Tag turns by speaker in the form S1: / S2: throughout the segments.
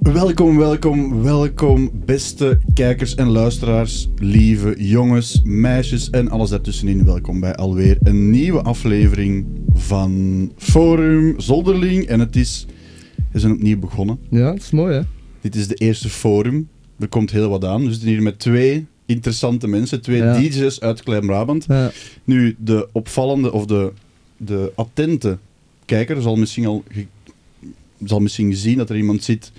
S1: Welkom, welkom, welkom, beste kijkers en luisteraars, lieve jongens, meisjes en alles daartussenin. Welkom bij alweer een nieuwe aflevering van Forum Zolderling. En het is, we zijn opnieuw begonnen.
S2: Ja, dat is mooi hè.
S1: Dit is de eerste Forum. Er komt heel wat aan. We zitten hier met twee interessante mensen, twee
S2: Ja.
S1: DJ's uit Klein-Brabant.
S2: Ja,
S1: Nu, de opvallende of de, de attente kijker zal misschien al ge- zal misschien zien dat er iemand zit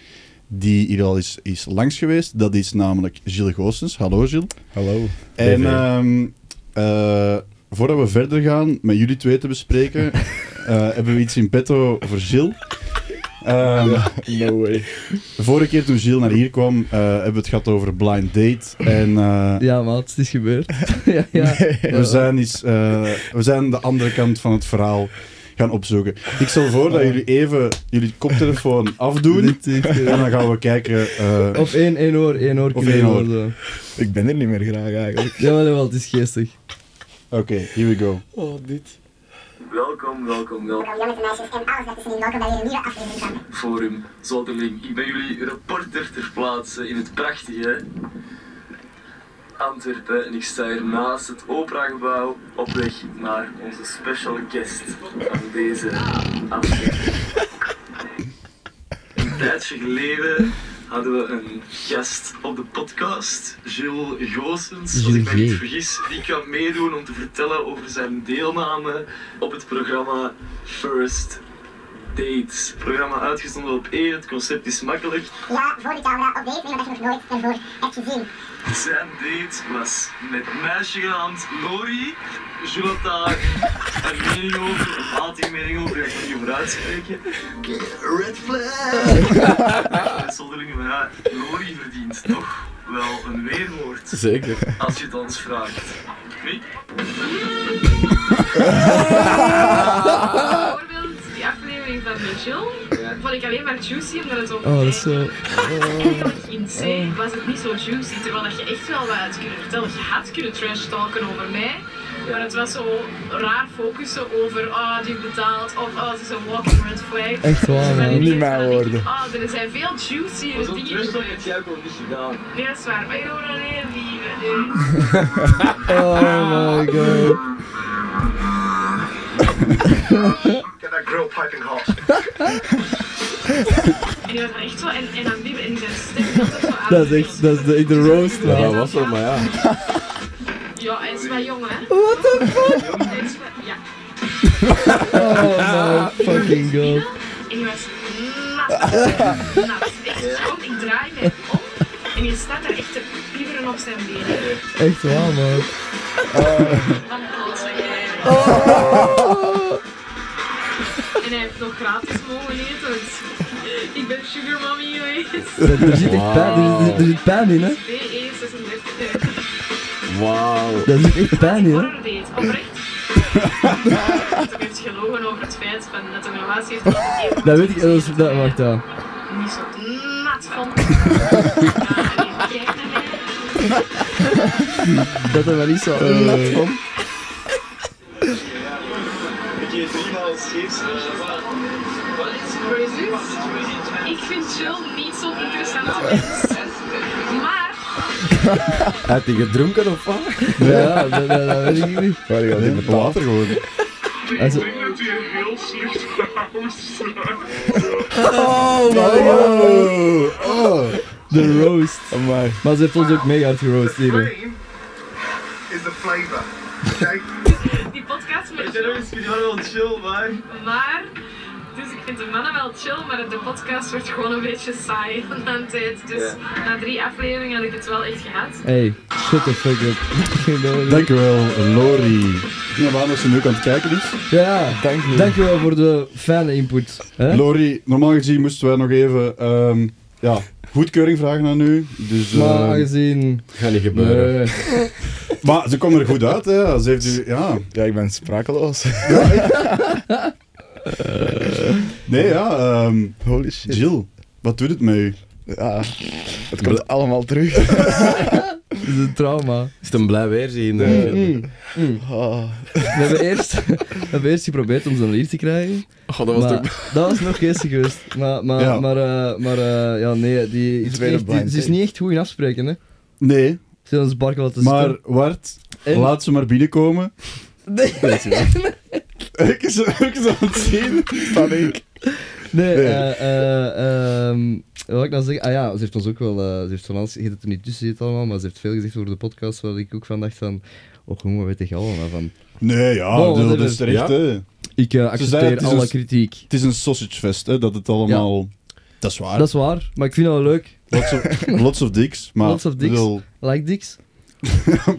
S1: die hier al is, is langs geweest. Dat is namelijk Gilles Goossens. Hallo Gilles.
S3: Hallo.
S1: En
S3: BV.
S1: ehm, eh, voordat we verder gaan met jullie twee te bespreken, eh, hebben we iets in petto voor Gilles. Ehm,
S3: No way.
S1: de vorige keer toen Gilles naar hier kwam, eh, hebben we het gehad over blind date. En eh,
S2: ja maat, het is gebeurd. ja, ja.
S1: We zijn, iets, eh, we zijn de andere kant van het verhaal gaan opzoeken. Ik stel voor dat jullie even jullie koptelefoon afdoen.
S2: Dit is, eh,
S1: En dan gaan we kijken. eh,
S2: Of één, één oor, één oor
S1: Of
S2: kunnen
S1: één oor.
S2: worden.
S3: Ik ben er niet meer graag eigenlijk.
S2: Jawel, jawel, het is geestig.
S1: Oké, here we go.
S3: Oh, dit.
S4: Welkom, welkom, welkom.
S5: Jongens en meisjes en alles dat is in welkom bij weer een nieuwe aflevering van
S4: Forum Zolderling. Ik ben jullie reporter ter plaatse in het prachtige Antwerpen. En ik sta hier naast het operagebouw op weg naar onze special guest van deze aflevering. Een tijdje geleden hadden we een gast op de podcast, Gilles Goossens, als ik me niet vergis. Die kwam meedoen om te vertellen over zijn deelname op het programma First Dates. Programma uitgezonden op E. Het concept is makkelijk.
S5: Ja, voor de camera, op deze manier dat je nog nooit ervoor hebt gezien.
S4: Zijn date was met een meisje genaamd Lori. Jules had daar een mening over, of had die mening over, ik ga niet over uitspreken. Red flag! Met Zonderlingen, maar ja, Lori verdient toch wel een weerwoord,
S3: Zeker.
S4: als je het ons vraagt. Wie?
S6: Bijvoorbeeld die aflevering van Michel. Vond ik alleen maar juicy omdat het over
S2: Oh, dat is eh, oh. zo.
S6: In C was het niet zo juicy, terwijl dat je echt wel wat had kunnen vertellen. Je had kunnen trash talken over mij. Maar het was zo raar focussen over, ah, die betaalt, of ah, ze is een walking red flag.
S2: Echt waar,
S6: Zo van
S2: man.
S6: die
S3: Niet
S6: dingen,
S3: mijn
S6: dan denk ik,
S3: woorden.
S6: Ah, er zijn veel juicier
S4: Maar zo'n
S6: dingen
S4: trust heb
S6: gebeurd.
S4: jij ook al niet gedaan.
S6: Nee, dat is waar. Maar joh, nee, die... nee.
S2: Oh my god.
S4: Get that grill piping hot.
S6: En die was dan echt zo, en, en dan die, en die zijn stem altijd zo aan.
S2: Dat is echt, dat is de, de roast
S6: Ja,
S2: man.
S6: dat was er, maar
S3: ja.
S6: Ja, hij is wel jong, hè? What the fuck? Hij is wel, ja.
S2: Oh my fucking god.
S6: En je was nat. Nat. Echt schoon. Ik draai mij om. En je staat daar echt te pieveren op zijn benen.
S2: Echt waar man.
S6: Van alles wat jij Oh. En hij heeft nog gratis mogen eten. dus ik ben sugar mommy geweest. E
S2: Er, er zit echt pijn, er, zit- er zit pijn in hè.
S6: BE36.
S3: Wauw.
S2: Daar zit echt pijn in hè.
S6: Horror date. Oprecht. Ik heb gelogen over het feit van dat een relatie heeft. met een
S2: Dat weet ik, dat is, dat, wacht ja.
S6: niet zo nat vond. Ja, en je kijkt naar mij.
S2: Dat er wel iets
S1: Eh,
S2: zo nat van.
S4: Ik je driemaal scheefs.
S6: Wat is crazy? Ik vind Jill niet zo'n interessante mens. Maar
S3: Had hij gedronken of wat?
S2: Ja, dat, dat, dat weet ik niet.
S3: Waar gaat hij met
S1: Water gewoon.
S2: Hij zo-
S4: dat je heel slecht trouwens.
S2: Oh my god.
S1: Oh, oh.
S2: De roast.
S3: Amai.
S2: Maar ze heeft ons ook mega hard geroast hier. hè.
S4: is the flavor.
S6: die podcast met
S4: Ja, dat
S6: Jill.
S4: is wel chill, maar.
S6: Maar. Dus ik vind de mannen wel chill, maar de podcast wordt gewoon een beetje saai aan het tijd. Dus na drie afleveringen had ik het wel echt gehad.
S2: Hey, shut the fuck up.
S1: Dankjewel, Lori. Ik neem aan dat ze nu ook aan het kijken is.
S2: Ja,
S3: Dank je.
S2: dankjewel voor de fijne input. Hè?
S1: Lori, normaal gezien moesten wij nog even ehm, ja, goedkeuring vragen aan u. Dus, eh,
S2: Maar aangezien...
S3: Gaat niet gebeuren.
S2: Nee.
S1: maar ze komen er goed uit, hè. Ze heeft u, ja.
S3: Ja, ik ben sprakeloos.
S1: Nee, ja. ehm,
S3: Holy shit.
S1: Jill, wat doet het met u?
S3: Ja. Het komt allemaal terug.
S2: Dat is een trauma.
S3: Is het een blij weerzien?
S2: Mm,
S3: eh?
S2: mm, mm.
S3: Ah.
S2: We, hebben eerst, we hebben eerst geprobeerd om zo'n lier te krijgen.
S3: Oh, dat was
S2: maar,
S3: toch...
S2: dat was nog geestig geweest. Maar, maar,
S1: Ja.
S2: maar, eh, maar eh, ja, nee, die, is
S3: Tweede
S2: echt, die-
S3: blind
S2: ze is
S3: date.
S2: niet echt goed in afspreken, hè.
S1: Nee,
S2: Ze wil ons barken laten
S1: maar
S2: zitten.
S1: Wart,
S2: En-
S1: laat ze maar binnenkomen.
S2: Nee,
S1: Ik is ik is aan het zien. Paniek.
S2: nee,
S1: Nee.
S2: eh, eh, ehm, wat wil ik nou zeggen? Ah ja, ze heeft ons ook wel, eh, ze heeft van alles, je hebt het er niet tussen zitten allemaal, maar ze heeft veel gezegd over de podcast, waar ik ook van dacht van, oh jongen, weet ik allemaal van.
S1: Nee, ja,
S2: Oh,
S1: ik bedoel,
S2: wat
S1: dat
S2: is
S1: is
S2: het?
S1: terecht,
S3: Ja?
S1: hè.
S2: Ik eh,
S1: zei,
S2: accepteer
S1: het is
S2: alle
S1: een-
S2: kritiek.
S1: Het is een sausagefest, hè, dat het allemaal... Dat is waar.
S2: Dat is waar, maar ik vind dat wel leuk.
S1: Lots of, lots of dicks. Maar,
S2: Lots of dicks.
S1: bedoel,
S2: Like dicks.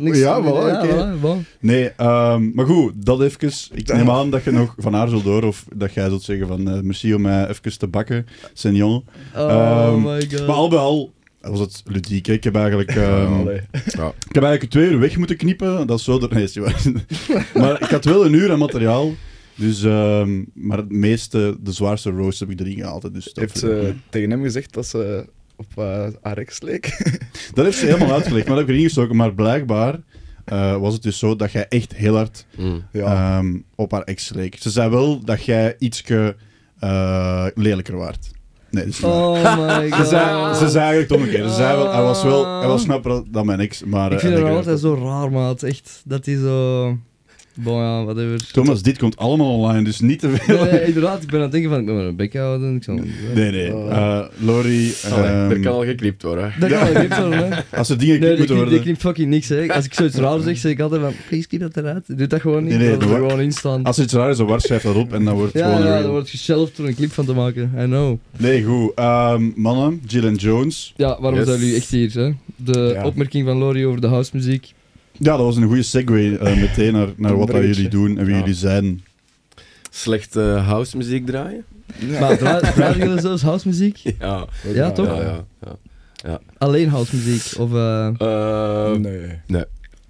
S1: Ja, voilà, oké.
S2: voilà, bon.
S1: nee, ehm, maar goed, dat even. Ik neem aan dat je nog van haar zult horen of dat jij zult zeggen van eh merci om mij even te bakken, senor.
S2: Oh
S1: Ehm,
S2: my god.
S1: Maar al bij al was het ludiek. Hè? Ik heb eigenlijk... ehm,
S3: Allee.
S1: Ik heb eigenlijk twee uur weg moeten knippen. Dat is wel de... Nee, is niet waar. maar ik had wel een uur aan materiaal. Dus, ehm, maar het meeste, de zwaarste roast heb ik erin gehaald. Dus dat,
S3: Heeft
S2: eh,
S3: ze tegen hem gezegd dat ze op eh Arex leek?
S1: dat heeft ze helemaal uitgelegd, maar dat heb ik erin gestoken. Maar blijkbaar eh, was het dus zo dat jij echt heel hard ehm, op haar ex leek. Ze zei wel dat jij ietske eh, lelijker waart. Nee, dat is niet waar.
S2: Oh my god.
S1: Ze zei, ze zei eigenlijk het omgekeerde. Ze zei wel, hij was wel, hij was knapper dan mijn ex, maar...
S2: ik
S1: eh,
S2: vind
S1: en
S2: haar
S1: ik-
S2: altijd zo raar, maat. Echt, dat is zo... Bon, ja, whatever.
S1: Thomas, dit komt allemaal online, dus niet te veel.
S2: Nee, nee, inderdaad, ik ben aan het denken van, ik moet mijn bek houden. Ik zal...
S1: Nee, nee. Eh, Lori, ehm,
S3: er kan al geknipt worden.
S2: Dat kan wel niet zo, hè.
S1: als er dingen geknipt
S2: Nee, die
S1: moeten
S2: knipt, die
S1: worden...
S2: knipt fucking niks, hè. Als ik zoiets raar zeg, zeg ik altijd van, please keep dat eruit. Doe dat gewoon niet,
S1: Nee, nee,
S2: laat het
S1: doe
S2: er
S1: maar.
S2: gewoon in staan.
S1: Als iets raar is, dan Wart schrijft dat op en dan wordt het
S2: Ja,
S1: gewoon een
S2: ja,
S1: reel.
S2: er wordt geshelft om een clip van te maken. I know.
S1: Nee, goed. Ehm, mannen, Jill en Jones.
S2: Ja, waarom
S3: Yes.
S2: zijn jullie echt hier, hè? De
S3: Ja.
S2: opmerking van Lori over de housemuziek.
S1: Ja, dat was een goede segue eh, meteen naar, naar wat dat
S3: bruggetje.
S1: jullie doen en wie
S3: Ja.
S1: jullie zijn.
S3: Slechte house muziek draaien?
S2: Maar draa- draaien jullie zelfs housemuziek?
S3: Ja,
S2: Ja, toch?
S3: ja, ja. ja.
S2: Alleen housemuziek? Of... eh,
S3: Eh,
S7: Nee.
S3: varieert,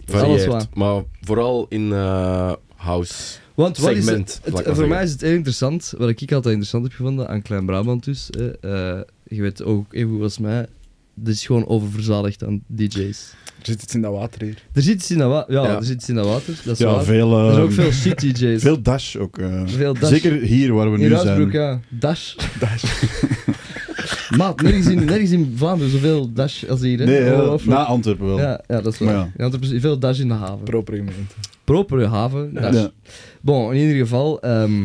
S2: Alles waar.
S3: Maar vooral in eh, house.
S2: Want wat
S3: Segment,
S2: is het,
S3: laat ik
S2: het-
S3: maar
S2: voor
S3: zeggen.
S2: mij is het heel interessant, wat ik altijd interessant heb gevonden aan Klein Brabant dus. hè, eh, je weet ook even goed als mij, er is gewoon oververzadigd aan DJ's.
S7: Er zit iets in dat water hier.
S2: Er zit iets in dat water, ja,
S3: Ja.
S2: er zit iets in dat water, dat is
S1: Ja,
S2: waar.
S1: veel,
S2: er zijn ook
S1: ehm,
S2: veel shit DJ's.
S1: veel dash ook. eh.
S2: Veel dash.
S1: Zeker hier waar we
S2: in
S1: nu
S2: Ruisbroek,
S1: zijn.
S2: ja. Dash. Dash. Maat, nergens in, nergens in Vlaanderen zoveel dash als hier, hè.
S1: Nee, ja,
S2: Ongelooflijk.
S1: na Antwerpen wel.
S2: ja, ja, dat is waar.
S1: Maar ja.
S2: Ja. want er is veel dash in de haven.
S7: Proper gemeente.
S2: Propere haven, dash.
S1: Ja.
S2: Bon, in ieder geval, ehm,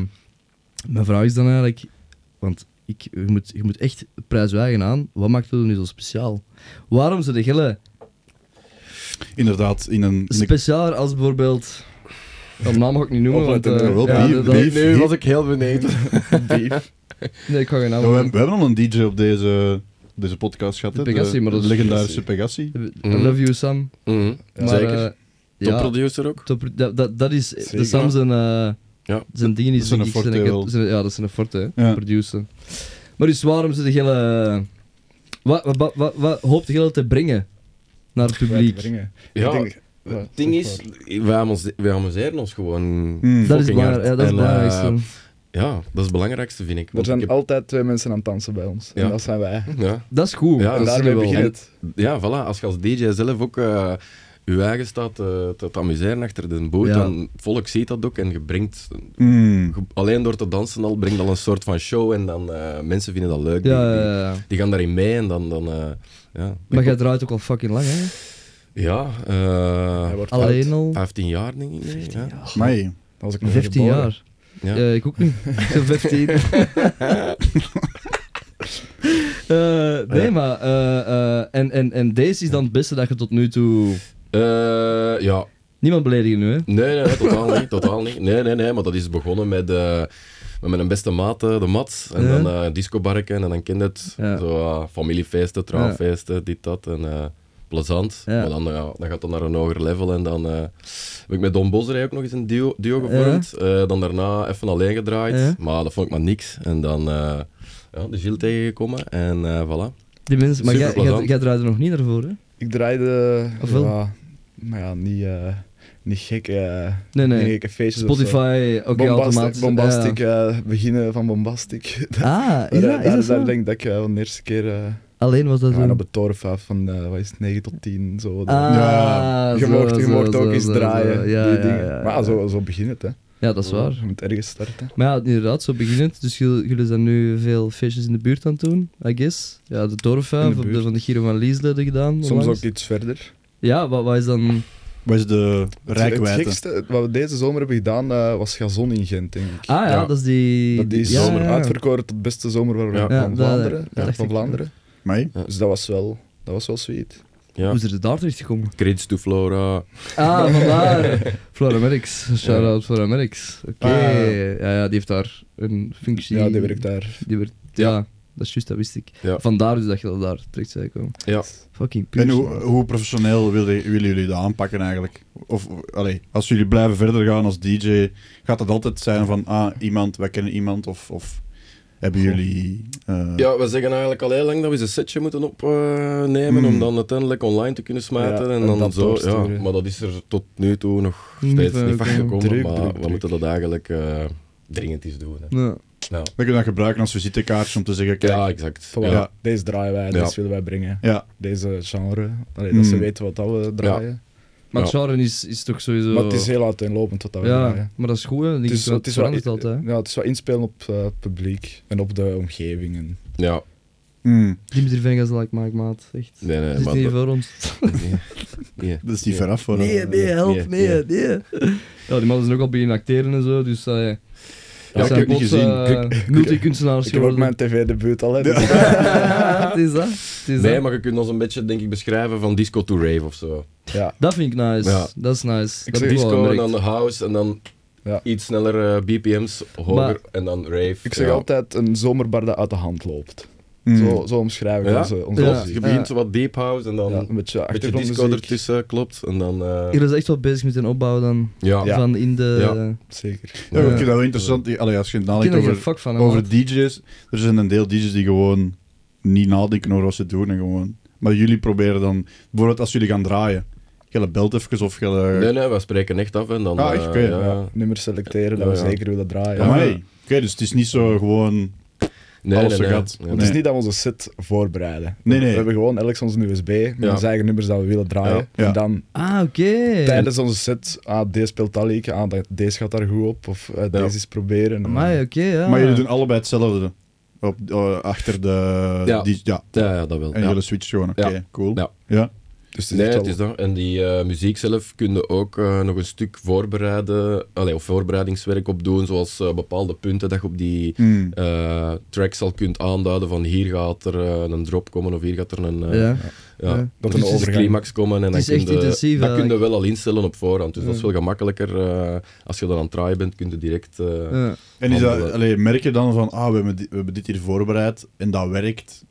S2: mijn vraag is dan eigenlijk, want ik, je, moet, je moet echt prijswijgen aan, wat maakt dat nu zo speciaal? Waarom ze de gillen
S1: Inderdaad, in een... in een-
S2: specialer als bijvoorbeeld, dat naam ga ik niet noemen,
S7: Of
S2: want...
S7: met een
S2: eh,
S1: wel
S2: ja,
S1: bier-
S2: dat- dat-
S1: bier- Beef,
S3: Nu
S1: beef.
S3: was ik heel beneden.
S2: Nee, ik ga geen naam
S1: Ja, we, hebben-
S2: noemen.
S1: we hebben al een DJ op deze, deze podcast gehad.
S2: De
S1: hè,
S2: Pegassi, maar dat is-
S1: legendarische Pegassi.
S2: I love you, Sam.
S3: Mhm,
S2: Maar,
S3: Zeker.
S2: eh,
S3: Top
S2: ja,
S3: producer ook.
S2: top, dat, dat, dat is de
S3: Zeker.
S2: Sam zijn, eh,
S3: Ja.
S2: zijn dingen is
S1: Dat is een
S2: denk ik,
S1: forte
S2: zijn-
S1: wel.
S2: zijn- Ja, dat is een forte, hè,
S1: Ja.
S2: producer. Maar dus waarom ze de gillen... Wat, wat, wat, wat, wat hoopt de gillen te brengen naar het publiek?
S3: Ja,
S7: Ik denk- Ja,
S3: het ding
S7: zeg
S3: is, wij, amuse- wij amuseren ons gewoon.
S1: Hmm.
S2: Dat is
S3: fucking
S2: belangrijk,
S3: hard.
S2: ja, dat is het
S3: En, eh,
S2: belangrijkste.
S3: Ja, dat is het belangrijkste, vind ik.
S7: Er
S3: Want
S7: zijn
S3: ik heb-
S7: altijd twee mensen aan het dansen bij ons.
S3: Ja.
S7: En dat zijn wij.
S3: ja,
S2: dat is goed.
S3: ja,
S7: en
S3: dat is
S7: daarmee
S3: wel.
S7: begint
S3: En-
S7: het.
S3: Ja, voilà. Als je als DJ zelf ook eh je eigen staat eh, te, te amuseren achter de boot,
S2: Ja.
S3: dan volk ziet dat ook en je brengt,
S1: Hmm.
S3: je- alleen door te dansen al, brengt al een soort van show en dan eh, mensen vinden dat leuk.
S2: Ja,
S3: die,
S2: ja,
S3: die,
S2: ja, ja.
S3: die gaan daarin mee en dan... dan eh, ja,
S2: Maar jij draait ook al fucking lang, hè?
S3: Ja, eh,
S7: Hij wordt
S2: Alleen
S7: oud.
S2: al.
S3: 15 jaar denk ik. 15 jaar.
S1: Amai.
S7: Als ik nog
S2: 15
S7: Eh, geboren.
S2: jaar.
S3: Ja.
S2: Eh, ik ook niet. Ik ben 15. Eh, nee, maar. eh, eh, en, en, en deze is dan het beste dat je tot nu toe.
S3: Ja. Eh, ja,
S2: Niemand beledigen nu, hè?
S3: Nee, nee, nee, totaal niet, totaal niet. Nee, nee, nee, maar dat is begonnen met, eh, met mijn beste maat, eh, de Mats. En
S2: Ja.
S3: dan eh discobarken en dan kind het.
S2: Ja.
S3: Zo, eh, familiefeesten, trouwfeesten, dit, dat. En eh, plezant.
S2: Ja.
S3: Maar dan, eh, dan gaat dat naar een hoger level. En dan eh, heb ik met Don Bosrij ook nog eens een duo, duo gevormd. Eh, dan daarna even alleen gedraaid.
S2: Ja.
S3: Maar dat vond ik maar niks. En dan eh ja, de Gilles tegengekomen. En eh voilà.
S2: Die mensen. Maar jij, jij,
S3: Superplezant.
S2: jij draait er nog niet naar voren, hè?
S7: Ik draaide...
S2: Of wel?
S7: Ja, maar ja, niet, eh, niet gekke... eh,
S2: Nee, nee.
S7: niet gekke feestjes of zo.
S2: Spotify, oké,
S7: Bombastic,
S2: automatisch.
S7: bombastic eh, beginnen van Bombastic.
S2: Ja. Ah, is
S7: Daar-
S2: dat, is
S7: daar,
S2: dat zo?
S7: daar denk ik dat ik eh, van de eerste keer eh,
S2: Alleen was dat
S7: We
S2: zo.
S7: waren op de torenfuif van eh, wat is het, 9 tot 10. Zo,
S2: Ah,
S1: Ja,
S7: je
S2: zo,
S7: mocht, je
S2: zo,
S7: mocht ook
S2: zo,
S7: eens
S2: zo,
S7: draaien.
S2: zo. Ja,
S7: die
S2: ja,
S7: dingen.
S2: ja, ja.
S7: maar zo, zo begint het, hè?
S2: Ja, dat is waar.
S7: Je moet ergens starten.
S2: Maar ja, inderdaad, zo beginnend. Dus jullie jullie zijn nu veel feestjes in de buurt aan het doen, I guess. Ja, de
S7: In
S2: Dorfhuif,
S7: de
S2: op de
S7: buurt.
S2: van de Giro van Liesleden gedaan.
S7: Soms ook
S2: onlangs.
S7: iets verder.
S2: Ja, wat, wat is dan...
S1: Wat is de
S7: Het- Het
S1: rijkwijde?
S7: gekste wat we deze zomer hebben gedaan eh, was Gazon in Gent, denk ik.
S2: Ah ja, dat is die...
S7: Dat die is
S2: ja,
S7: zomer
S2: ja, ja.
S7: uitverkoren tot beste zomer van,
S3: Ja.
S7: van
S2: Ja, dat-
S7: Vlaanderen.
S2: dat dacht
S7: van
S2: ik.
S7: Vlaanderen.
S1: Mij?
S7: Dus dat was wel, dat was wel sweet.
S3: Ja.
S2: Hoe is er daar terecht gekomen?
S3: Credits to Flora.
S2: Ah, vandaar. Flora Merks. Shout-out Flora Merks. Oké. Ja, ja, die heeft daar een functie.
S7: Ah, Ja, die werkt daar.
S2: Die werkt, ja. dat is juist, dat wist ik.
S3: Ja.
S2: Vandaar dus dat je dat daar terecht zou komen.
S3: Ja.
S2: Fucking puur.
S1: En hoe, hoe professioneel willen, willen jullie dat aanpakken eigenlijk? Of allee, als jullie blijven verder gaan als DJ, gaat dat altijd zijn van ah, iemand, wij kennen iemand? Of, of hebben jullie. eh,
S3: Ja, we zeggen eigenlijk al heel lang dat we eens een setje moeten opnemen
S1: Mm.
S3: om dan uiteindelijk online te kunnen smijten.
S7: Hmm. Ja,
S3: en
S7: en
S3: dan
S7: dan
S3: zo, ja,
S7: doorsturen.
S3: maar dat is er tot nu toe nog
S2: Niet
S3: steeds
S2: van
S3: niet van
S2: gekomen.
S3: gekomen.
S7: Druk,
S3: maar
S7: druk,
S3: we
S7: druk.
S3: moeten dat eigenlijk eh, dringend eens doen. Hè.
S2: Ja.
S3: Ja.
S1: We kunnen dat gebruiken als visitekaartje om te zeggen: kijk,
S3: ja,
S1: ja,
S3: exact.
S7: Voilà,
S3: Ja.
S7: Deze draaien wij,
S3: Ja.
S7: deze willen wij brengen.
S1: ja,
S7: Deze genre. Allee, dat
S2: Hmm.
S7: ze
S1: Mm.
S7: weten wat dat we draaien.
S2: Maar het
S3: Ja.
S2: genre is, is toch sowieso...
S7: Maar het is heel uiteenlopend wat dat we
S2: Ja,
S7: draaien.
S2: maar dat is goed, hè. Het is, het
S7: wel-
S2: verandert altijd. hè.
S7: Ja, het is wel inspelen op eh, het publiek en op de omgeving. En
S1: mm,
S2: Dimitri Vegas like Mike Maat, echt.
S3: Nee, nee,
S7: Dus
S2: Zit
S3: maar
S2: hier
S3: dat-
S2: voor ons.
S3: Nee. Nee.
S1: dat is niet veraf Eh, voor
S2: Nee, nee, help, nee,
S3: nee,
S2: nee. Ja, die mannen zijn ook al beginnen acteren en zo, dus... eh
S1: ik heb niet gezien.
S2: multikunstenaars
S7: ik heb ook mijn tv-debuut al. Hè, dus-
S2: Ja, het is dat. Het is
S3: Nee,
S2: dat.
S3: maar je kunt ons een beetje denk ik, beschrijven van disco to rave of zo.
S7: ja.
S2: Dat vind ik nice.
S3: Ja.
S2: Dat is nice.
S7: Ik
S2: dat heb ik
S7: zeg
S2: wel
S3: Disco en
S2: gemerkt.
S3: dan de house en dan
S7: Ja.
S3: iets sneller eh, BPM's hoger
S2: Maar-
S3: en dan rave.
S7: Ik zeg
S3: ja. Hmm.
S7: altijd een zomerbar dat uit de hand loopt.
S1: Mm.
S7: Zo, zo omschrijf ik
S3: Ja?
S7: onze, onze
S2: Ja.
S3: Klopt,
S7: muziek.
S3: je begint
S2: Ja.
S3: zo wat deep house en dan
S7: Ja,
S3: een
S7: een beetje
S3: beetje disco
S7: achtergrondmuziek.
S3: ertussen, klopt. En dan, eh,
S2: Hier is echt wel bezig met een opbouw dan.
S3: ja.
S7: Ja.
S2: Van in de...
S3: Ja.
S2: Ik
S7: Zeker.
S1: Ja, ik vind dat wel interessant. Allee, als je
S2: ken
S1: nadenkt
S2: er geen
S1: over,
S2: fuck van. hè,
S1: over
S2: maat.
S1: DJ's, er zijn een deel DJ's die gewoon niet nadenken over wat ze doen en gewoon. Maar jullie proberen dan, bijvoorbeeld als jullie gaan draaien, je belt even of je.
S3: Nee, nee, we spreken echt af en dan...
S1: Ah,
S3: eh,
S1: echt? Oké,
S3: ja.
S7: Ja, nummers selecteren, dat
S3: Ja,
S7: we
S3: ja.
S7: zeker willen draaien.
S1: Amai. Oké, dus het is niet zo gewoon
S3: Nee,
S1: Alles
S3: nee,
S1: zo
S3: nee.
S1: gaat.
S3: Nee,
S7: Het
S3: nee.
S7: is niet dat we onze set voorbereiden.
S1: Nee, nee.
S7: We hebben gewoon elk onze USB met
S3: Ja.
S7: onze eigen nummers dat we willen draaien.
S3: Ja.
S1: Ja.
S7: En dan
S2: Ah, oké.
S7: tijdens onze set, ah, deze speelt dat liedje, ah, dat- deze gaat daar goed op, of eh, deze is proberen.
S2: Amai, oké, ja.
S1: Maar jullie doen allebei hetzelfde. Op, eh, achter de.
S3: Ja.
S1: die- ja.
S3: Ja, ja, dat wel.
S1: En
S3: ja.
S1: jullie switch gewoon. Oké,
S3: Ja.
S1: cool.
S3: Ja.
S1: Ja.
S7: Dus het is
S3: Nee,
S7: echt
S3: het
S7: wel-
S3: is dat. En die eh, muziek zelf kun je ook eh, nog een stuk voorbereiden, allee, of voorbereidingswerk op doen, zoals eh, bepaalde punten dat je op die
S1: Hmm.
S3: eh, tracks al kunt aanduiden van hier gaat er eh, een drop komen of hier gaat er een, eh, ja.
S2: Ja. ja.
S7: Dat
S3: er
S7: een
S3: is een
S7: overgang.
S3: climax komen en
S2: Het
S3: dan
S2: is
S3: kun
S2: echt
S3: je,
S2: intensief
S3: dat kun je
S2: eigenlijk.
S3: wel al instellen op voorhand. Dus dat is wel gemakkelijker. eh, als je dan aan het draaien bent, kun je direct... eh,
S2: Ja.
S1: En is dat,
S3: Handelen.
S1: allee, merk je dan van, ah, we hebben, dit, we hebben dit hier voorbereid en dat werkt.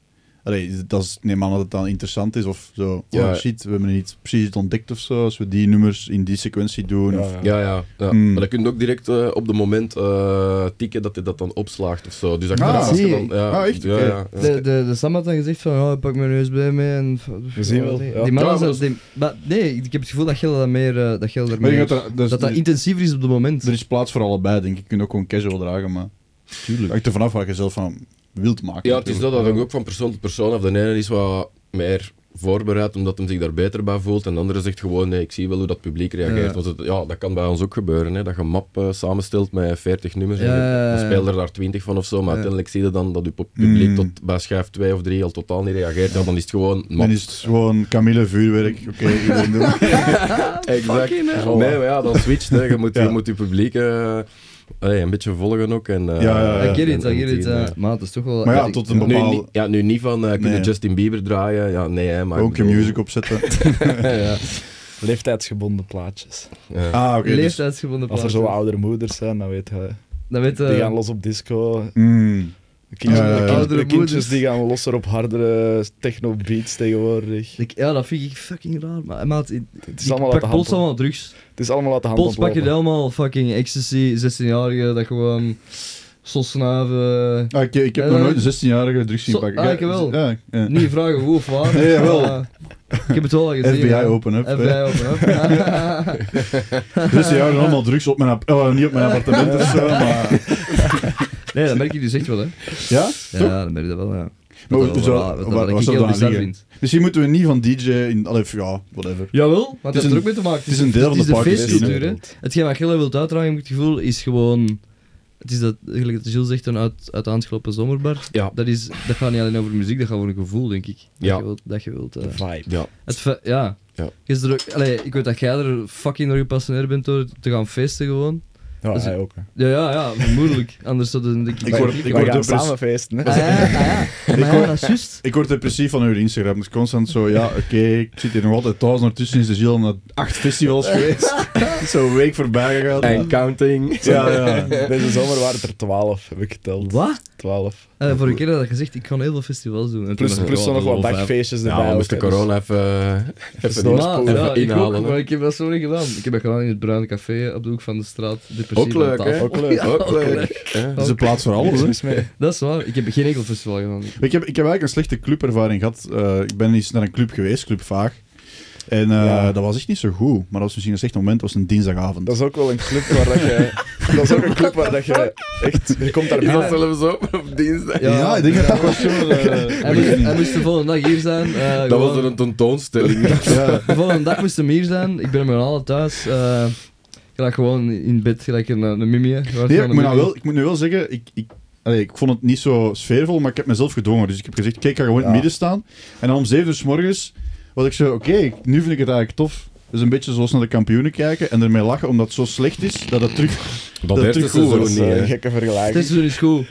S1: Allee, is- dat is, neem aan dat het dan interessant is of zo.
S3: Ja.
S1: Oh shit, we hebben iets, precies iets ontdekt of zo. Als we die nummers in die sequentie doen. of,
S7: Ja, ja.
S3: Ja, ja. ja.
S1: Hmm.
S3: Maar dan kun je ook direct eh, op het moment eh, tikken dat hij dat dan opslaagt of zo. Dus dat
S1: Ah,
S3: als je
S2: zie
S3: dan,
S2: je.
S3: ja,
S1: Ah, echt?
S3: Ja,
S1: Oké.
S3: ja, ja.
S2: De, de, de Sam had dan gezegd van, oh, ik pak mijn USB mee en...
S7: We zien wel, ja.
S2: Die mannen
S3: Ja, maar
S2: zijn... die- maar nee, ik heb het gevoel dat Gilda dat meer... eh, dat Gilda
S1: Maar je
S2: meer
S1: gaat er- dus-
S2: dat dat intensiever is op het moment.
S1: Er is plaats voor allebei, denk ik. Je kunt ook gewoon casual dragen, maar... Tuurlijk. Echt er vanaf wat je zelf van wilt maken.
S3: ja, het is
S1: natuurlijk.
S3: dat. Dat hangt ook van persoon tot persoon af. De ene is wat meer voorbereid omdat hij zich daar beter bij voelt. En de andere zegt gewoon, nee, ik zie wel hoe dat publiek reageert.
S2: Ja.
S3: Want het- ja, dat kan bij ons ook gebeuren. Hè, dat je een map eh, samenstelt met 40 nummers.
S2: Ja, ja, ja,
S3: en
S2: ja.
S3: dan speel er daar 20 van of zo. Maar uiteindelijk zie je dan dat je pub-
S1: Hmm.
S3: publiek tot bij schijf 2 of 3 al totaal niet reageert. Ja, dan is het gewoon map.
S1: Dan is het gewoon Camille vuurwerk. Oké, iedereen doen.
S3: Exact.
S2: Fucking hell.
S3: Voilà. Nee, maar ja, dan switcht. Hè. Je, moet,
S1: Ja.
S3: je moet je publiek eh, allee, een beetje volgen ook. En, eh,
S1: Ja, ja, ja.
S2: I get it,
S3: en-
S2: I
S3: en
S2: get it.
S3: die,
S2: ja.
S3: eh,
S2: Maar het is toch wel...
S1: Maar ja,
S2: ik-
S1: tot een
S3: Nu,
S1: bepaalde...
S3: niet- ja, nu niet van, eh kunnen
S1: Nee.
S3: Justin Bieber draaien? Ja, nee, hè, maar...
S1: Ook
S3: ik
S1: een
S3: bedoel-
S1: music opzetten.
S3: ja.
S7: Leeftijdsgebonden plaatjes.
S3: Ja.
S1: Ah, oké. dus-
S2: Leeftijdsgebonden
S7: Als er
S2: plaatjes.
S7: zo oudere moeders zijn, dan weet je.
S2: Dan weet eh, je...
S7: Die gaan los op disco.
S1: Mm.
S7: De kindjes,
S1: Ja, ja, ja.
S7: de kind-
S2: Oudere
S7: de kindjes
S2: moeders.
S7: die gaan losser op hardere techno beats tegenwoordig.
S2: Ik- ja, dat vind ik fucking raar. Maar maat, ik,
S7: Het is
S2: ik
S7: allemaal uit
S2: pak
S7: de
S2: plots
S7: hand.
S2: allemaal drugs.
S7: Het is allemaal uit de hand.
S2: Plots pak je
S7: ontlopen.
S2: helemaal fucking ecstasy, 16-jarige, dat gewoon... Sol snuiven...
S1: Ah, ik, ik heb
S2: Ja,
S1: nog
S2: dan-
S1: nooit een 16-jarige drugs zien
S2: Zo-
S1: pakken.
S2: ah,
S1: Ja,
S2: ik wel.
S1: Ja, ja.
S2: Niet vragen hoe of waar.
S1: Nee, jawel.
S2: maar eh, Ik heb het wel al gezien.
S1: FBI
S2: ja.
S1: open up.
S2: FBI open up.
S1: Dus ze houden allemaal drugs op mijn, app- oh, niet op mijn appartement of zo, maar...
S2: nee, dat merk je dus echt wel, hè.
S1: Ja?
S2: Ja, dat merk je wel, ja.
S1: Maar
S2: dat
S1: we-
S2: wel
S1: zo-
S2: raar- dat
S1: wa-
S2: wat ik
S1: wat zou
S2: heel
S1: daar
S2: bizar
S1: liggen?
S2: vind.
S1: Misschien moeten we niet van DJ in. Allee, ja, whatever.
S2: Jawel, maar
S1: Het is
S2: het heeft
S1: een-
S2: er ook mee te maken.
S1: het is een deel van de
S2: Het is
S1: parkenscene.
S2: feestcultuur, hè. Hetgeen wat Gilles wilt uitdragen, heb ik het gevoel, is gewoon... Het is dat, gelijk dat Gilles zegt, een uit, uit de hand gelopen zomerbar.
S3: Ja.
S2: Dat, is, dat gaat niet alleen over muziek, dat gaat over een gevoel, denk ik. Dat
S3: Ja.
S2: je wilt... Dat je wilt eh,
S7: Vibe.
S3: Ja.
S2: het fe- ja.
S3: Ja.
S2: Is er ook, allee, ik weet dat jij er fucking door gepassioneerd bent door te gaan feesten gewoon.
S7: Ja,
S2: is-
S7: hij ook. hè.
S2: Ja, ja, ja, moeilijk. Anders zou dat... Ik,
S1: Ik word-
S2: Ah,
S1: ik
S7: We
S1: word
S7: gaan
S1: depress-
S7: samen feesten. hè.
S2: ja, ah, ja. Maar
S1: Ik
S2: ja,
S1: word-
S2: dat is juist.
S1: Ik word depressief van hun Instagram. Dus constant zo, ja, oké, ik zit hier nog altijd thuis. Ondertussen is de ziel naar acht festivals geweest. Zo'n week voorbij gegaan.
S3: En counting.
S1: Ja, ja.
S7: Deze zomer waren het er 12, heb ik geteld.
S2: Wat?
S7: 12.
S2: Eh, voor een keer had ik gezegd, ik ga heel veel festivals doen. En
S7: Plus,
S2: toen dacht ik,
S7: plus
S2: oh,
S7: dan nog wat
S2: wel vijf.
S7: dagfeestjes erbij.
S3: Ja, we
S7: ook,
S3: moesten
S7: hè, dus-
S3: corona even, even
S7: snel.
S3: niet-
S2: Maar,
S7: Even
S2: ja, ik ook,
S3: inhalen, hè.
S2: maar ik heb dat zo niet gedaan. Ik heb dat gedaan in het Bruine Café op de hoek van de straat. Depressief
S3: Ook leuk,
S2: aan tafel.
S3: hè?
S7: Ook leuk.
S2: Ja,
S3: Ook leuk. Ja.
S1: Dat is een plaats voor alles,
S7: Niks
S1: hè.
S7: mis mee.
S2: Dat is waar. Ik heb geen enkel festival gedaan.
S1: Ik heb, ik heb eigenlijk een slechte clubervaring gehad. Eh, ik ben eens naar een club geweest, Club Vaag. En eh,
S7: Ja. Eh,
S1: dat was echt niet zo goed. Maar dat was misschien een slecht moment, dat was een dinsdagavond.
S7: Dat is ook wel een club waar dat je. dat is ook een club waar dat je. Echt, je komt daar
S3: Is dat
S7: binnen.
S3: zelfs op, op dinsdag?
S1: ja, ik denk dat dat was zo...
S2: Hij moest, hij moest de volgende dag hier zijn. eh,
S3: Dat
S2: gewoon-
S3: was er een tentoonstelling.
S2: De volgende dag moest hem hier zijn. Ik ben met mijn allen thuis. eh, ik lag gewoon in bed, gelijk een, eh, een mumie. hè. Gewoon
S1: Nee,
S2: een
S1: ik moet, nou
S2: mumie.
S1: wel, ik moet nu wel zeggen, ik, ik, allee, ik vond het niet zo sfeervol, maar ik heb mezelf gedwongen. Dus ik heb gezegd, kijk, ik ga gewoon in het
S7: Ja.
S1: midden staan. En dan om 7 uur s morgens was ik zo, oké, nu vind ik het eigenlijk tof. Het is een beetje zoals naar de kampioenen kijken en ermee lachen, omdat het zo slecht is, dat het terug...
S3: Dat
S1: heeft
S3: eerste
S1: het seizoen
S3: seizoen
S7: Dat is
S3: niet,
S7: eh, een
S3: hè.
S7: gekke
S2: Het is
S7: vergelijking.
S2: dus goed.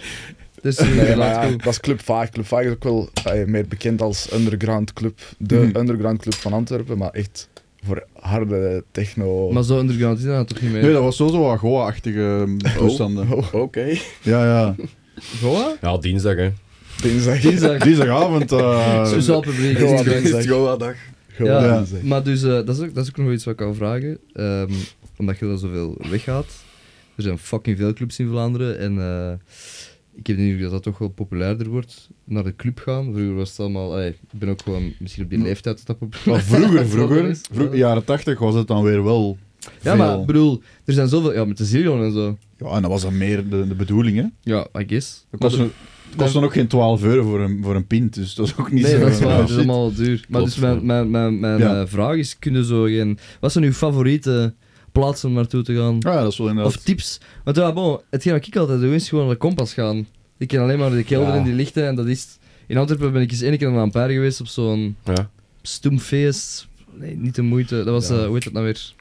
S2: Het is dus
S7: Nee,
S2: inderdaad
S7: maar ja,
S2: goed.
S7: dat is Club Vaag. Club Vaag is ook wel eh, meer bekend als underground club. De
S1: Mhm.
S7: underground club van Antwerpen, maar echt voor harde techno.
S2: Maar zo underground is dat toch niet meer?
S1: Nee, dat was zo zo'n goa-achtige eh, toestanden.
S3: Oké.
S1: Ja, ja.
S2: Goa?
S3: Ja, dinsdag, hè.
S7: Dinsdag.
S2: Dinsdag.
S1: Dinsdagavond... eh,
S2: Speciaal publiek.
S7: Goa,
S2: dinsdag.
S7: dinsdag.
S3: Goa-dag.
S7: Gewoon
S2: Ja,
S7: dinsdag.
S2: Maar dus, eh, dat, is ook, dat is ook nog wel iets wat ik kan vragen. ehm, omdat je er zoveel weggaat. Er zijn fucking veel clubs in Vlaanderen. En eh, ik heb de indruk dat dat toch wel populairder wordt. Naar de club gaan. Vroeger was het allemaal... allee, ik ben ook gewoon misschien op die leeftijd dat dat populair
S1: Mm. Maar vroeger, vroeger,
S2: is.
S1: vroeger, jaren 80 was het dan weer wel.
S2: Ja, maar
S1: veel.
S2: ik bedoel, er zijn zoveel... Ja, met de Zillion en zo.
S1: Ja, en dat was dan meer de, de bedoeling, hè?
S2: Ja, I guess.
S1: Dat kostte, het kostte dan ook geen 12 euro voor een, voor een pint, dus dat is ook niet
S2: Nee,
S1: zo.
S2: dat is waar.
S1: Ja,
S2: Het is
S1: shit.
S2: allemaal duur. Maar
S3: Klopt,
S2: dus mijn,
S3: ja.
S2: mijn, mijn, mijn
S1: Ja.
S2: eh, vraag is, kunnen zo geen... Wat zijn uw favoriete plaatsen om naartoe te gaan?
S1: Ja, dat is wel inderdaad.
S2: Of tips. Want ja, bon, hetgeen wat ik altijd doe, is gewoon naar de kompas gaan. Ik ken alleen maar de kelder
S7: Ja.
S2: en die lichten en dat is... het. In Antwerpen ben ik eens één keer naar Ampère geweest op zo'n
S3: Ja.
S2: stoemfeest. Nee, niet de moeite. Dat was,
S7: Ja.
S2: eh, hoe heet dat nou weer?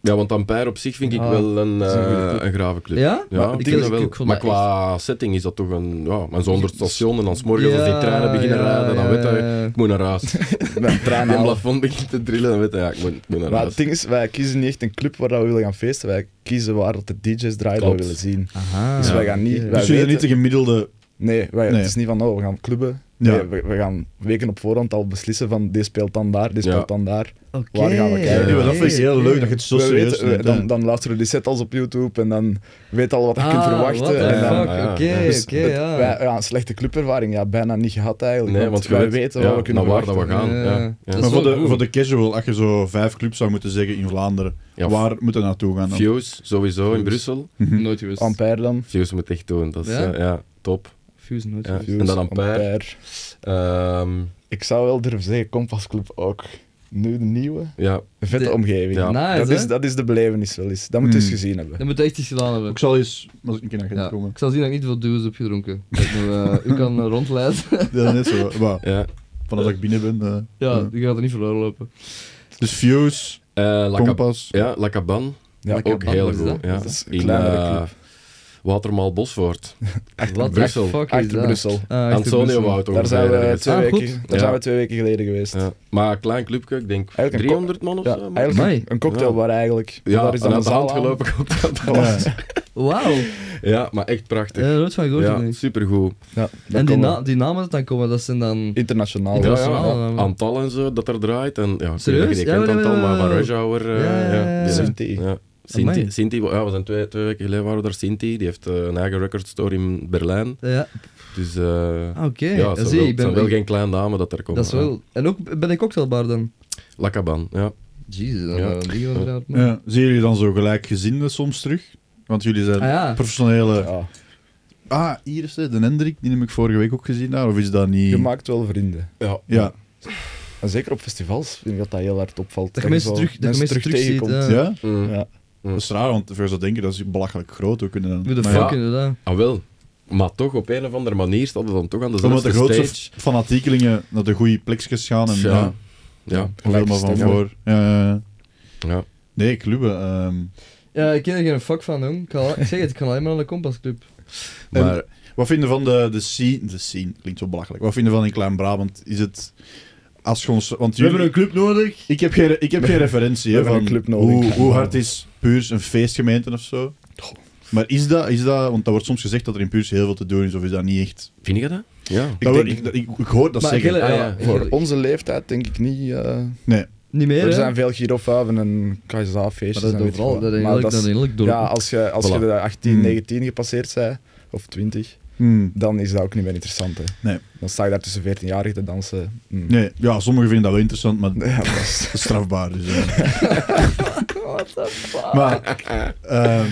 S3: ja, want Ampère op zich vind ik
S2: Ah,
S3: wel een,
S7: is een goede
S3: eh,
S7: club.
S3: een grave club.
S2: Ja?
S3: Ja,
S2: ik
S3: ik
S2: ken
S3: ken
S2: dat
S3: dat wel.
S2: ook, ik vond
S3: maar
S2: dat
S3: qua setting is dat toch een... Ja, maar zonder station en dan 's morgens als die treinen beginnen
S2: ja,
S3: rijden, dan
S2: ja,
S3: weet hij...
S2: ja.
S3: Ik moet naar huis.
S7: Mijn trein
S3: Mijn
S7: halen.
S3: plafond begint te drillen, dan weet hij, ja, ik moet, ik moet naar
S7: Nou. Maar het
S3: huis.
S7: ding is, wij kiezen niet echt een club waar dat we willen gaan feesten. Wij kiezen waar dat de DJ's draaien dat we
S3: Klopt.
S7: willen zien.
S2: Aha.
S7: Dus wij gaan niet-
S2: Ah, oké.
S7: wij-
S1: Dus je bent
S7: weten-
S1: niet de gemiddelde.
S7: Nee, wij,
S1: Nee.
S7: het is niet van oh, we gaan clubben.
S1: Ja.
S7: Nee, we, we gaan weken op voorhand al beslissen van dit speelt dan daar, dit
S3: Ja.
S7: speelt dan daar.
S2: Oké.
S7: Waar gaan we kijken?
S1: Ja, maar dat vind ik heel
S2: Oké.
S1: leuk dat je het zo
S7: We
S1: serieus
S7: weten, we-
S1: neemt, hè.
S7: dan, dan luisteren we die set als op YouTube en dan weet al wat je kunt
S2: Ah, what
S7: verwachten.
S2: the
S7: En dan,
S2: fuck,
S3: Ja, ja,
S2: Oké,
S7: dus
S2: oké,
S7: het- wij-
S2: ja.
S7: ja, een slechte clubervaring, ja, bijna niet gehad eigenlijk.
S3: Nee,
S7: want,
S3: want je
S7: wij
S3: weet,
S7: weten
S3: ja,
S7: waar we kunnen
S3: naar waar dat we
S7: verwachten.
S3: gaan.
S2: Ja,
S3: Ja,
S2: ja.
S3: ja.
S2: Dat is
S1: Maar voor
S2: wel
S1: de,
S2: goed.
S1: voor de casual, als je zo vijf clubs zou moeten zeggen in Vlaanderen,
S3: Ja,
S1: waar moet er naartoe gaan dan?
S3: Fuse, sowieso, in Brussel.
S2: Nooit geweest.
S7: Ampère dan.
S3: Fuse moet echt doen, dat is
S2: Ja?
S3: ja, ja top.
S2: Fuse nooit
S3: Ja.
S2: geweest.
S3: En dan Ampère. Ehm,
S7: Ik zou wel durven zeggen, Kompas Club ook. Nu de nieuwe.
S3: ja,
S7: Een vette
S2: De-
S7: omgeving.
S3: Ja.
S2: Nice,
S7: dat,
S2: hè?
S7: is, dat is de belevenis wel eens. Dat moet je eens
S1: Hmm.
S7: gezien hebben.
S2: Dat moet echt iets gedaan hebben.
S1: Ik zal eens, als ik een keer naar ga
S2: Ja.
S1: komen.
S2: Ik zal zien dat ik niet veel duw's heb gedronken. Dat ik nog, eh, u kan eh, rondleiden.
S1: Ja, net zo. Wauw,
S3: ja.
S1: vanaf dat ik binnen ben. eh.
S2: Ja, die gaat er niet verloren lopen.
S1: Dus Fuse,
S3: Eh, La Cab-
S1: Kompas.
S3: ja, La Caban,
S7: Ja,
S2: Lekker.
S3: ook
S2: Caban,
S3: heel
S2: wat is
S3: goed.
S2: dat?
S3: Ja.
S7: Dat is een
S3: in
S7: kleinere
S3: eh,
S7: club.
S3: Watermaal Bosvoort.
S2: Wat de
S3: Brussel.
S2: fuck is
S7: Achter
S2: dat?
S7: Brussel.
S2: Ah, achter
S3: Antonio
S2: Brussel.
S3: Wout
S7: Daar, zijn we, twee
S2: Ah,
S7: weken,
S2: goed.
S7: daar
S3: Ja.
S7: zijn we twee weken geleden geweest.
S3: Ja. Eh, Maar een klein clubje, ik denk
S7: Eigenlijk een
S3: 300 man of
S7: Ja,
S3: zo. maar-
S7: eigenlijk
S2: Amai.
S7: een- een cocktailbar eigenlijk.
S3: ja,
S7: daar is dan
S3: aan
S7: een
S3: de hand
S7: zaal
S3: gelopen cocktailbar.
S1: Ja.
S2: Wauw.
S3: Ja, maar echt
S2: Ja,
S3: prachtig.
S2: daar nooit van gehoord.
S3: Ja,
S2: nee.
S3: supergoed.
S7: Ja,
S2: En die, na die namen dat dan komen, dat zijn dan...
S7: Internationaal.
S3: Ja, ja,
S2: Internationaal,
S3: ja.
S2: ja.
S3: Antal en zo, dat er draait. En, ja, ik weet
S2: Serieus?
S3: dat Je
S2: Ja,
S3: kent
S2: ja,
S3: Antal,
S2: ja, ja.
S3: maar van Rush Hour... eh,
S2: Ja, ja, ja.
S3: die heeft-
S7: Sinti.
S3: Ja. Sinti,
S2: Amai.
S3: Sinti, ja, we zijn twee, twee weken geleden waren we daar Sinti. Die heeft eh, een eigen record store in Berlijn.
S2: Ja,
S3: Dus eh,
S2: ah, oké.
S3: ja,
S2: Ja,
S3: het zijn,
S2: zie,
S3: wel,
S2: ik
S3: het
S2: ben...
S3: zijn wel geen klein namen dat er komen.
S2: Dat is wel... En ook bij de cocktailbar dan.
S3: Lakaban, ja.
S2: Jezus, dat
S3: Ja.
S2: waren die gewoon eruit, man.
S1: Ja. Zien jullie dan zo gelijkgezinden soms terug? Want jullie zijn
S2: Ah, ja.
S1: professionele
S7: Ja.
S1: Ah, hier is hij, de Hendrik, die heb ik vorige week ook gezien daar. Of is dat niet...
S7: Je maakt wel vrienden.
S3: Ja.
S1: Ja.
S7: En zeker op festivals vind ik dat dat heel hard opvalt.
S2: Dat je
S7: je
S2: mensen
S7: zo
S2: terug- dat je mensen terug ziet,
S7: tegenkomt.
S1: Ja.
S2: ja.
S3: Mm.
S7: Ja.
S1: Dat is raar, want verder zou denken, dat is belachelijk groot. We kunnen dan...
S2: Hoe de
S1: maar
S2: fuck
S1: ja,
S2: inderdaad.
S3: Ah, wel. Maar toch, op een of andere manier staat het dan toch aan
S1: Omdat
S3: dezelfde
S1: de grootste
S3: stage.
S1: fanatiekelingen naar de goede plekjes gaan en
S3: Ja.
S1: ja.
S3: Ja.
S1: helemaal van
S7: stemmen.
S1: voor. Ja, ja, ja.
S3: ja.
S1: Nee, clubben. ehm.
S2: Ja, ik ken er geen fuck van, jong. Ik, kan al- ik zeg het, ik kan alleen maar naar de Kompasclub.
S3: Maar
S1: Wat vinden van de, de scene? De scene klinkt zo belachelijk. Wat vinden van in Klein-Brabant? Is het... Als gewoon, want jullie,
S2: club nodig.
S1: ik, heb geen, ik heb geen referentie
S7: We
S1: hè,
S7: hebben
S1: van
S7: een club nodig in
S1: hoe, hoe
S7: Klein-Brabant.
S1: hard is Puurs een feestgemeente of zo. Maar is dat, is dat, want dat wordt soms gezegd dat er in Puurs heel veel te doen is, of is dat niet echt?
S3: vind je dat? Ja.
S1: Dat
S7: denk-
S1: wordt- ik, ik, ik hoor dat
S2: Maar
S1: zeggen.
S2: Gille,
S3: Ah,
S2: ja,
S3: ja.
S2: Gille-
S7: Voor onze leeftijd denk ik niet. eh,
S1: Nee.
S2: Niet meer,
S7: er
S2: hè?
S7: zijn veel Girofaven en
S2: Maar
S7: KSA-feestjes.
S2: dat is
S7: en weet ik
S2: overal,
S7: wat.
S2: dat is
S7: Maar
S2: eigenlijk,
S7: dat is-
S2: dat is eigenlijk door.
S7: Ja, als je, als je
S3: Voilà.
S7: de 18,
S1: Hmm.
S7: 19 gepasseerd bent, of 20,
S1: Hmm.
S7: dan is dat ook niet meer interessant. Hè.
S1: Nee.
S7: Dan sta je daar tussen 14-jarigen te dansen. Hmm.
S1: Nee, ja, sommigen vinden dat wel interessant, maar
S7: Ja, dat is-
S1: strafbaar. Dus, eh. Maar, ehm,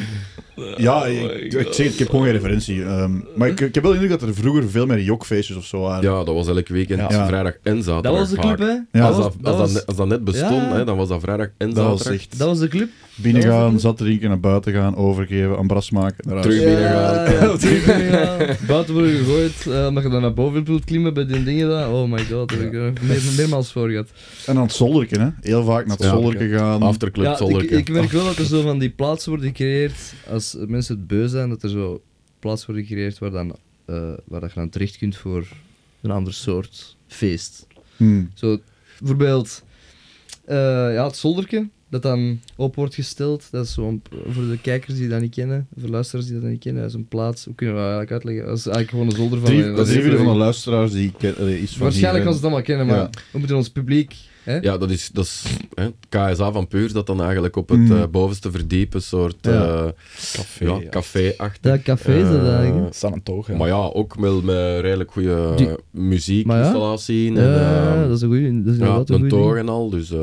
S1: ja, ik, ik zeg, het, ik heb gewoon geen referentie. ehm, maar ik, ik heb wel de indruk dat er vroeger veel meer jokfeestjes of zo waren.
S3: Ja, dat was elk weekend,
S1: Ja.
S3: vrijdag en zaterdag.
S2: Dat was de club,
S3: vaak.
S2: hè?
S1: Ja,
S3: Als,
S2: was-
S3: dat, als, dat,
S2: was-
S3: ne- als dat net bestond,
S2: Ja.
S3: hè, dan was dat vrijdag en
S1: Dat was
S3: zaterdag.
S1: echt
S2: dat was de club. dat was
S1: binnengaan,
S2: het.
S1: zat drinken, naar buiten gaan, overgeven, aan bras maken. naar huis.
S3: Terug binnen. binnengaan.
S2: Ja, terug binnengaan. Buiten worden gegooid, eh, omdat je dan naar boven wilt klimmen bij die dingen daar. Oh my god, daar heb ik er meer- meermaals voor gehad.
S1: En aan het zolderken, hè? heel vaak naar het
S3: Ja.
S1: zolderken gaan.
S3: Afterclub
S2: Ja, ik,
S3: Zolderke.
S2: ik merk wel dat er zo van die plaatsen worden gecreëerd, als mensen het beu zijn, dat er zo plaatsen worden gecreëerd waar, dan, eh, waar dat je dan terecht kunt voor een ander soort feest.
S1: Hmm.
S2: Zo, bijvoorbeeld, eh, ja, het zolderke, dat dan op wordt gesteld. Dat is zo'n, voor de kijkers die dat niet kennen, voor luisteraars die dat niet kennen, dat is een plaats. Hoe kunnen we dat eigenlijk uitleggen? Dat is eigenlijk gewoon een zolder van...
S1: Drie,
S2: een-
S1: dat is drie vierde van de luisteraars die ik ken. allee, is van
S2: Waarschijnlijk
S1: hier, eh.
S2: gaan ze het allemaal kennen, maar
S1: Ja.
S2: we moeten ons publiek... Hè?
S3: Ja, dat is, dat is hè, het KSA van Puurs, dat dan eigenlijk op het
S1: Mm.
S3: eh, bovenste verdiep een soort eh,
S1: Ja.
S3: ja.
S7: Café. ja.
S3: café-achtig.
S2: Dat café is dat
S3: Eh,
S2: eigenlijk. hè?
S7: Staan aan het oog, ja.
S3: Maar ja, ook wel met redelijk goede
S2: Die-
S3: muziekinstallatie. en,
S2: Ja,
S1: ehm,
S3: eh,
S2: dat is een goeie, dat is
S3: ja,
S2: inderdaad een
S3: een
S2: goeie
S3: toog
S2: ding.
S3: en al. Dus, eh,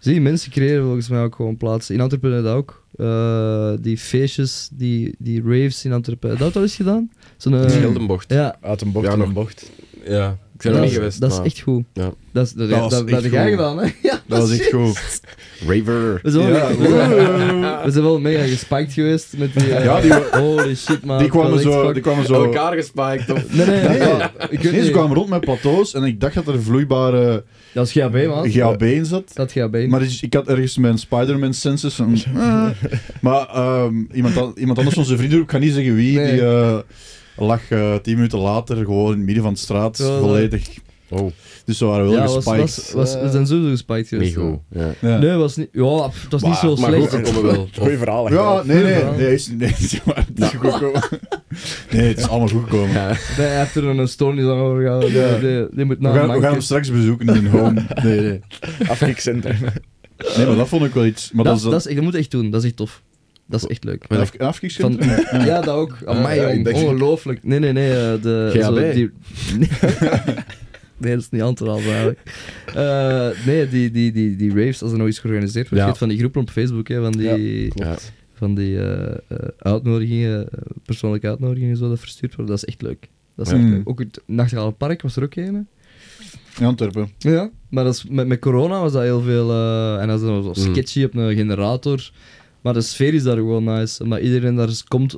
S2: Zie, mensen creëren volgens mij ook gewoon plaatsen. In Antwerpen hebben we dat ook. Eh, die feestjes, die, die raves in Antwerpen. Heb je Dat al eens gedaan? Zo'n... eh,
S3: Scheldenbocht.
S2: ja,
S7: Uit een bocht
S3: Ja,
S7: in
S3: nog-
S7: een bocht.
S3: Ja, ik ben er
S2: dat
S3: niet
S2: is-
S3: geweest.
S2: Dat is
S3: maar-
S2: echt goed.
S3: Ja.
S2: Dat, is, dat,
S1: Dat
S2: dat,
S1: was
S2: dat,
S1: echt
S2: heb jij
S1: goed.
S2: gedaan, hè? Ja,
S1: Dat was echt
S2: shit.
S1: goed.
S3: Raver.
S2: We zijn, wel
S1: Ja.
S2: mega- we zijn, wel- we zijn wel mega gespiked geweest met die... eh,
S1: Ja, die-
S2: holy shit, man.
S1: Die kwamen
S2: Dat was echt
S1: zo.
S2: fuck-
S1: Die kwamen zo
S3: Elkaar gespiked. Of...
S2: Nee, nee, nee.
S1: Ja.
S2: Ik weet
S1: Nee, ze
S2: niet.
S1: kwamen rond met plateaus en ik dacht dat er vloeibare
S2: Dat is GHB, man.
S1: GHB in zat.
S2: Dat GHB.
S1: Maar is- ik had ergens mijn Spider-Man senses. van, eh. Maar ehm, iemand, an- iemand anders van zijn vriendengroep, ik ga niet zeggen wie,
S2: Nee.
S1: die eh, lag eh, tien minuten later gewoon in het midden van de straat,
S2: Wel, eh,
S1: volledig.
S3: Oh,
S1: Dus ze waren wel
S2: ja, was,
S1: gespiked.
S2: was, was, we zijn sowieso gespiked geweest.
S3: niet goed. Ja.
S1: Ja.
S2: Nee, was niet... Ja, pff, het was niet
S3: Maar-
S2: zo
S3: eh, maar
S2: slecht.
S3: goed, dat komen wel.
S7: Goeie verhalen.
S1: Ja,
S7: gedaan.
S1: nee, nee,
S2: Ja. Nou.
S1: nee, is, nee, is- maar het is goed gekomen. Nee, het is allemaal goed gekomen.
S2: Nee, hij heeft er een stoornis aan overgehouden.
S1: Ja.
S2: Die, die, die moet
S1: We
S2: naar
S1: gaan, we gaan hem
S2: Manke.
S1: straks bezoeken in home. Nee, nee.
S7: Afkikcentrum.
S1: nee, maar dat vond ik wel iets. Maar
S2: Dat,
S1: dat,
S2: is- dat, is, dat moet je echt doen, dat is echt tof. Dat is echt leuk.
S1: een
S2: Ja.
S1: af, een
S2: Van,
S1: afkikcentrum?
S2: ja, dat ook. Amai,
S7: Ja, ik
S2: jong.
S7: denk-
S2: Ongelooflijk. Nee, nee, nee. eh, de,
S3: GHB?
S2: die, nee, nee, dat is niet antwoord eigenlijk. Eh, nee, die, die, die, die raves, als er nog iets georganiseerd wordt,
S3: Ja.
S2: je hebt van die groepen op Facebook, hè, van die,
S3: klopt.
S2: van die eh, eh, uitnodigingen, eh, persoonlijke uitnodigingen zo, dat verstuurd worden. Dat is echt leuk. Dat is
S1: Ja.
S2: echt
S1: Mm.
S2: leuk. Ook het Nachtgale Park was er ook een. hè.
S1: In Antwerpen.
S2: Ja, maar dat is, met, met corona was dat heel veel. eh, en dat is dan zo
S3: Mm.
S2: sketchy op een generator. Maar de sfeer is daar gewoon nice. Maar iedereen daar is- komt,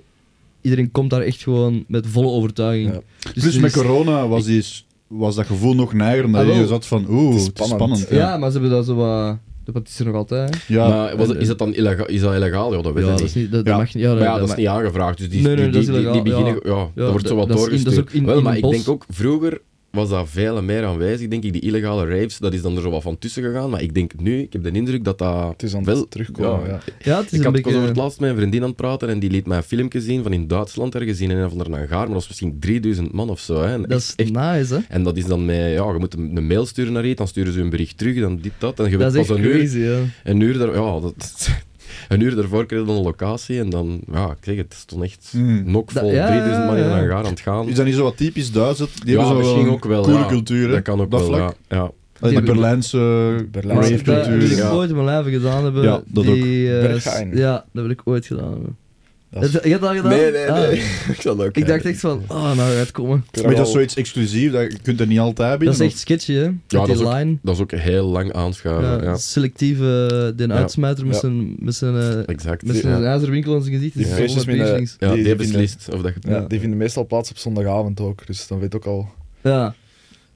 S2: iedereen komt daar echt gewoon met volle overtuiging.
S7: Ja.
S2: Dus
S1: Plus
S2: er
S1: met
S2: is-
S1: corona was, die, s- was dat gevoel nog neiger.
S2: Ah,
S1: Omdat
S2: wel.
S1: je zat van, oeh, het is spannend.
S7: spannend.
S2: Ja, maar ze hebben dat zo wat. Dat is er nog altijd. hè.
S1: Ja,
S3: maar was, is dat dan illegaal? Is dat illegaal? eh, Ja, dat weet
S2: Ja,
S3: ik
S2: dat,
S3: niet.
S2: is niet, dat, dat
S1: Ja.
S2: mag niet. Ja,
S3: Maar ja,
S2: dat
S3: dat is
S2: mag-
S3: niet aangevraagd, dus die,
S2: Nee, nee,
S3: die,
S2: dat is
S3: die, die, die
S2: illegaal,
S3: beginnen... Ja, dat wordt zo wat
S2: dat is in- dat is
S3: doorgestuurd.
S2: ook in-
S3: Wel,
S2: in
S3: maar
S2: een
S3: ik
S2: bos.
S3: denk ook, vroeger was dat veel meer aanwezig, denk ik, die illegale raves, dat is dan er zo wat van tussen gegaan, maar ik denk nu, ik heb de indruk dat dat...
S7: Het is aan
S3: wel,
S7: het terugkomen. Ja.
S2: Ja, het is
S3: Ik
S2: een
S3: had ik was
S2: beetje.
S3: over het laatst met een vriendin aan het praten en die liet mij een filmpje zien van in Duitsland ergens in een of andere hangar, maar dat was misschien 3000 man of zo. Hè. En,
S2: dat is echt nice, hè?
S3: en dat is dan met, ja, je moet een, een mail sturen naar iets, dan sturen ze een bericht terug, dan dit, dat. En je
S2: Dat
S3: weet
S2: is echt
S3: pas een uur,
S2: crazy, ja.
S3: een uur, daar, ja, dat, een uur daarvoor kreeg je dan een locatie en dan, ja, ik zeg het, het stond echt
S1: Mm.
S3: nokvol,
S2: Dat- ja,
S3: 3000 man in een
S2: ja.
S3: hangar aan het gaan.
S1: Is dat niet zo wat typisch Duits? Dat- Die
S3: ja,
S1: hebben zo
S3: misschien
S1: wel
S3: ook wel.
S1: Coole
S3: ja.
S1: cultuur, hè,
S3: Dat kan ook
S1: dat
S3: wel,
S1: vlak.
S3: ja. ja.
S1: Allee, de
S2: Die-
S1: Berlijnse
S7: Berlijnse
S2: Maar
S1: rave
S2: dat dat
S1: cultuur.
S2: wil ik
S3: Ja.
S2: ooit in mijn leven gedaan hebben.
S1: Ja, dat
S2: die, eh,
S7: Berghain.
S2: ja, dat wil ik ooit gedaan hebben.
S7: Dat is-
S2: Heb Je je hebt dat al gedaan?
S3: Nee, nee,
S2: Ah.
S3: nee. ik zal dat ook
S2: Ik dacht
S3: kijken.
S2: echt van, ah, nou uitkomen.
S1: Maar dat is zoiets exclusief, dat, je kunt er niet altijd binnen.
S2: Dat is echt sketchy, hè?
S3: dat
S2: Met
S3: is
S2: die
S3: ook-
S2: line.
S3: Dat is ook heel lang
S2: Ja,
S3: aanschaven. Ja,
S2: Selectieve, den
S3: Ja.
S2: uitsmijter met
S3: Ja.
S2: zijn, met zijn, eh,
S3: Exact.
S2: met zijn
S3: ja.
S2: ijzerwinkel aan zijn gezicht.
S7: Die
S2: is
S7: feestjes
S2: vol met
S7: met, eh,
S2: piercings.
S3: Ja, die,
S7: die vinden-
S3: beslist of dat je...
S7: Ja,
S2: Ja.
S7: die vinden meestal plaats op zondagavond ook, dus dan weet ook al.
S2: Ja.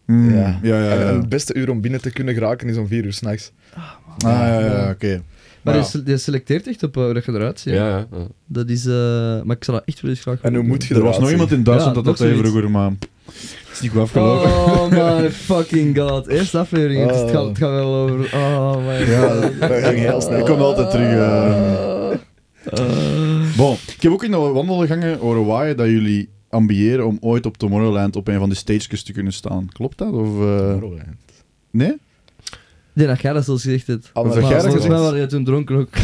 S1: Mm,
S7: Ja.
S1: Ja, ja, ja.
S7: En
S1: ja.
S7: het beste uur om binnen te kunnen geraken is om vier uur s'nachts.
S1: Ah, ja, ja,
S2: Ja.
S1: oké.
S2: Maar
S7: Ja.
S2: die se- die selecteert echt op eh, hoe dat je eruit ziet.
S3: Ja, ja. ja.
S2: Dat is, eh, maar ik zou dat echt wel eens graag
S7: En hoe
S2: willen
S7: moet je
S1: Er was nog iemand in Duitsland
S2: Ja,
S1: dat dat
S2: nog
S1: zei
S2: zoiets.
S1: vroeger, maar is niet goed
S2: doen.
S1: afgelopen.
S2: Oh my fucking god. Eerste aflevering. Het, is- het gaat, het gaat wel over. Oh my god.
S1: Ja,
S7: dat ging heel snel.
S1: Ik kom altijd terug. eh.
S2: Eh,
S1: Bon, ik heb ook in de wandelgangen horen waaien dat jullie ambiëren om ooit op Tomorrowland op een van die stages te kunnen staan. Klopt dat? Of, eh, nee?
S2: Ik denk dat jij dat zelfs gezegd hebt.
S7: Ah, maar
S2: Maar
S7: jij dat
S2: volgens mij
S7: gezegd?
S2: waren je toen dronken ook.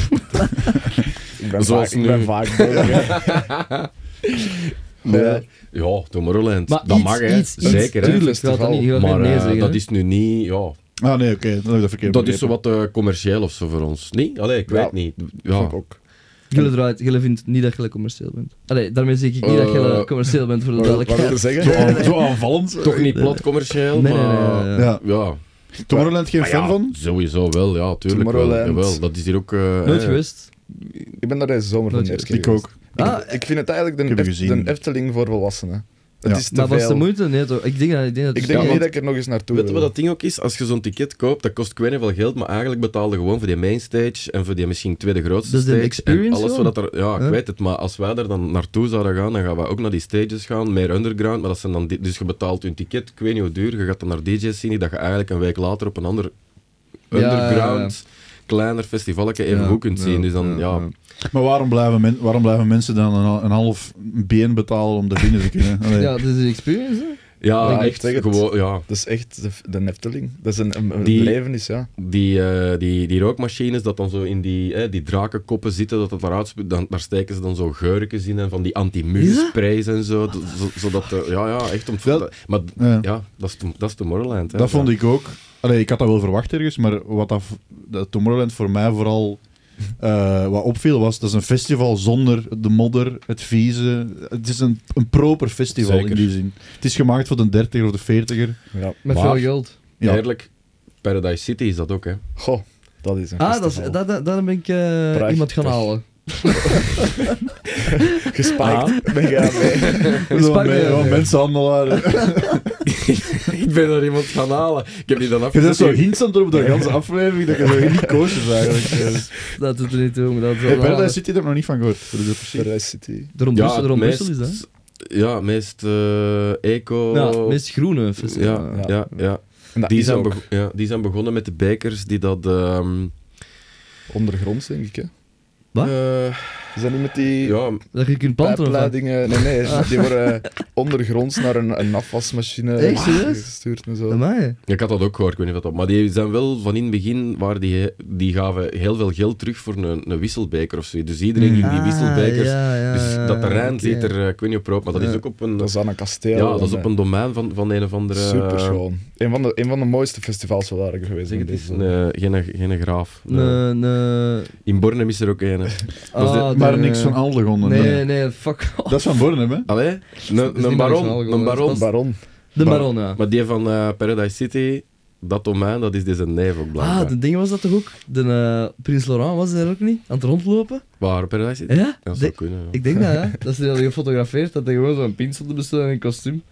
S7: Ik ben vaak,
S3: Zoals
S7: ik
S3: nu.
S7: ben vaak dronken, hè.
S3: Nee. Ja, Tomorrowland.
S2: Maar
S3: dat
S2: iets,
S3: mag, hè.
S2: iets, iets,
S3: Zeker, hè.
S2: Tuurlijk, je gaat dat niet, je gaat
S3: Maar
S2: niet nee
S3: eh,
S2: zeggen.
S3: dat
S2: hè.
S3: is nu niet... Ja,
S1: Ah, nee, oké. Dat heb ik dat verkeerd
S3: dat is zo
S1: begrepen.
S3: wat eh, commercieel of zo voor ons. Nee? Allee, ik
S7: Ja.
S3: weet niet. Ja.
S7: Vond ik ook.
S2: Jullie eruit, jullie vindt niet dat je commercieel bent. Allee, daarmee zeg ik niet dat je
S3: Eh,
S2: commercieel bent voor de
S7: Wat, wat wil je
S2: duidelijkheid.
S1: Zo,
S7: zeggen?
S1: aan- zo aanvallend.
S3: Toch niet plat commercieel,
S2: Nee, nee, nee,
S3: maar...
S2: nee, nee.
S1: Ja.
S3: Ja,
S1: Tomorrowland geen
S3: Maar ja,
S1: fan van?
S3: Sowieso wel, ja, tuurlijk wel.
S7: Tomorrowland.
S3: Jawel, dat is hier ook... eh,
S2: Nooit
S3: hè.
S2: geweest.
S7: Ik ben daar deze zomer van
S2: Nooit
S7: de eerste keer
S1: Ik ook.
S2: Ah,
S7: geweest. Ik vind het eigenlijk
S1: Ik
S7: de,
S1: heb
S7: Eft-
S1: je gezien.
S7: de Efteling voor volwassenen. Het
S1: Ja.
S7: is te
S2: maar was
S7: veel.
S2: de moeite? Nee toch? Ik denk dat ik denk dat
S7: Ik
S2: ja,
S7: denk niet
S2: want-
S7: dat ik er nog eens naartoe
S3: Weet je
S7: wil.
S3: wat dat ding ook is? Als je zo'n ticket koopt, dat kost ik weet niet veel geld, maar eigenlijk betaalde gewoon voor die mainstage en voor die misschien tweede grootste
S2: Dat is de
S3: stage.
S2: experience
S3: en alles
S2: gewoon.
S3: wat er, ja, ik
S2: Ja.
S3: weet het, maar als wij daar dan naartoe zouden gaan, dan gaan wij ook naar die stages gaan, meer underground, maar dat zijn dan, di- dus je betaalt hun ticket, ik weet niet hoe duur, je gaat dan naar DJ's zien, die dat je eigenlijk een week later op een ander
S2: Ja,
S3: underground, kleiner festivalletje even
S2: Ja,
S3: goed kunt
S2: ja,
S3: zien. Dus dan, ja,
S2: ja, ja.
S1: Maar waarom blijven, men- waarom blijven mensen dan een, een half been betalen om er binnen te kunnen? Allee.
S2: Ja, dat is een experience. Hè?
S3: Ja,
S7: Ja, ik
S3: echt
S7: zeg het.
S3: gewoon, ja.
S7: Dat is echt de, de Efteling. Dat is een, een, een
S3: Die-
S7: belevenis, ja.
S3: Die, eh, die, die rookmachines, dat dan zo in die, eh, die drakenkoppen zitten, dat dat eruit spuit, dan, daar steken ze dan zo geurkjes in en van die anti-mugsprays en zo, dat- zo- zodat, eh, ja, ja, echt om...
S1: Wel-
S3: maar
S1: Ja.
S3: ja, dat, is, to- dat is Tomorrowland. Hè,
S1: Dat vond ik ook. Allee, ik had dat wel verwacht ergens, maar wat dat, dat Tomorrowland voor mij vooral eh, wat opviel was, dat is een festival zonder de modder, het vieze. Het is een, een proper festival
S3: Zeker.
S1: in die zin. Het is gemaakt voor de dertiger of de veertiger.
S7: ja.
S2: Met
S3: Maar-
S2: veel geld.
S1: Ja.
S3: Eerlijk, Paradise City is dat ook, hè.
S7: Goh, dat is een
S2: Ah, dat, is,
S7: festival.
S2: dat, dat, dat ben ik eh,
S7: Prachtig.
S2: iemand gaan halen.
S7: Gespiked.
S3: Ah.
S7: Ben jij aan mee?
S1: Zo,
S2: Spanje,
S1: me-
S2: ja.
S1: ja, mensenhandelaren.
S3: ik ben daar iemand gaan halen. Ik heb die dan
S1: Je bent
S3: afgezet.
S1: zo hints aan het doen op de hele aflevering dat je zo niet koosjes eigenlijk.
S3: dus-
S2: Dat doet er niet toe. maar Dat is wel
S1: Hey, Paradise
S2: halen.
S1: City heb ik dus- nog niet van gehoord. Voor de precies.
S7: Paradise City.
S2: Daarom
S3: Ja,
S2: Brussel,
S3: het
S2: daarom
S3: meest-
S2: Brussel is dat. hè?
S3: Ja, meest eh, eco...
S2: Ja, het meest groene festival.
S3: ja, ja, ja,
S7: En dat
S3: Die,
S7: is
S3: zijn
S7: ook
S3: beg- ja. Die zijn begonnen met de bekers die dat... ehm
S7: ondergronds, denk ik, hè.
S2: Wat?
S3: eh,
S7: Is dat niet met die...
S3: ja,
S2: Dat je kunt planten of wat?
S7: Pijpleidingen, nee, nee, die worden eh, ondergronds naar een, een afwasmachine
S2: Echt, serieus?
S7: gestuurd en zo.
S2: Amai.
S3: Ja, Ik had dat ook gehoord, ik weet niet wat dat... Maar die zijn wel van in het begin, waar die, die gaven heel veel geld terug voor een, een wisselbeker of zoiets. Dus iedereen ging die
S2: Ah,
S3: wisselbekers...
S2: ja, ja,
S3: dus
S2: ja,
S3: dat terrein
S2: oké.
S3: zit er, eh, ik weet niet op rood, maar dat is ook op een...
S7: Dat is aan een kasteel.
S3: ja, dat is
S7: en,
S3: op een domein van, van een of andere...
S7: eh, Superschoon. Een van, de, een van de mooiste festivals wel daar geweest.
S3: Zeg
S7: in
S3: het eens,
S7: deze-
S3: een, eh, geen, geen graaf. Eh,
S2: Nee, nee.
S3: In Bornem is er ook een. hè.
S2: Ah,
S3: de-
S2: de-
S1: Maar niks van Aldegonden.
S2: Nee, nee, fuck off.
S1: Dat is van Bornem, hè?
S3: Allee?
S2: niet
S3: Een, een
S2: mijn verhaal
S3: baron,
S2: gewoon,
S3: een
S2: dat
S3: baron.
S2: is
S7: Baron.
S2: De Baron, ja.
S3: Maar die van eh, Paradise City, dat domein, dat is deze neef ook blijkbaar.
S2: Ah, de ding was dat toch ook? De eh, Prins Laurent was er ook niet? Aan het rondlopen?
S3: Waar, Paradise City?
S2: Ja?
S3: Dat zou
S2: De-
S3: kunnen, ja.
S2: ik denk dat, ja. Dat ze die hadden gefotografeerd, dat hij gewoon zo'n pinsel te bestellen en een kostuum.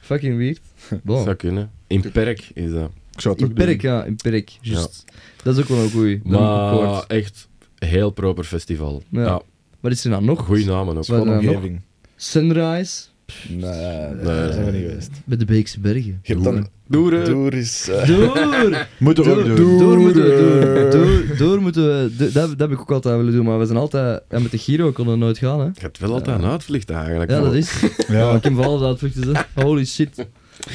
S2: Fucking weird. Bon.
S3: zou kunnen. In Perk is dat.
S1: Ik zou het
S2: In
S1: ook doen.
S2: Perk, ja, in Perk. Juist. Dat is ook wel een goeie. dat heb ik ook
S3: Maar
S2: gehoord.
S3: echt heel proper festival.
S2: Ja.
S3: Ja.
S2: Wat is er nou nog?
S3: goeie namen ook.
S2: Wat-
S7: Gewoon
S2: eh, nog-
S7: omgeving.
S2: Sunrise
S7: Nee, daar zijn we niet geweest.
S2: bij de Beekse Bergen.
S7: Je hebt dan...
S3: Doeren.
S7: Doer is... eh,
S2: Door!
S1: Moeten we ook
S2: Door,
S1: doen.
S2: door moeten we door, door, door moeten we. do- dat, dat heb ik ook altijd willen doen, maar we zijn altijd. Ja, met de Giro konden we nooit gaan, hè?
S3: Je hebt wel altijd een uitvlucht eigenlijk.
S2: Ja,
S3: man.
S2: dat is. Ja,
S1: Ja,
S2: ik heb vooral de uitvluchten, hè. dus Holy shit.
S1: ik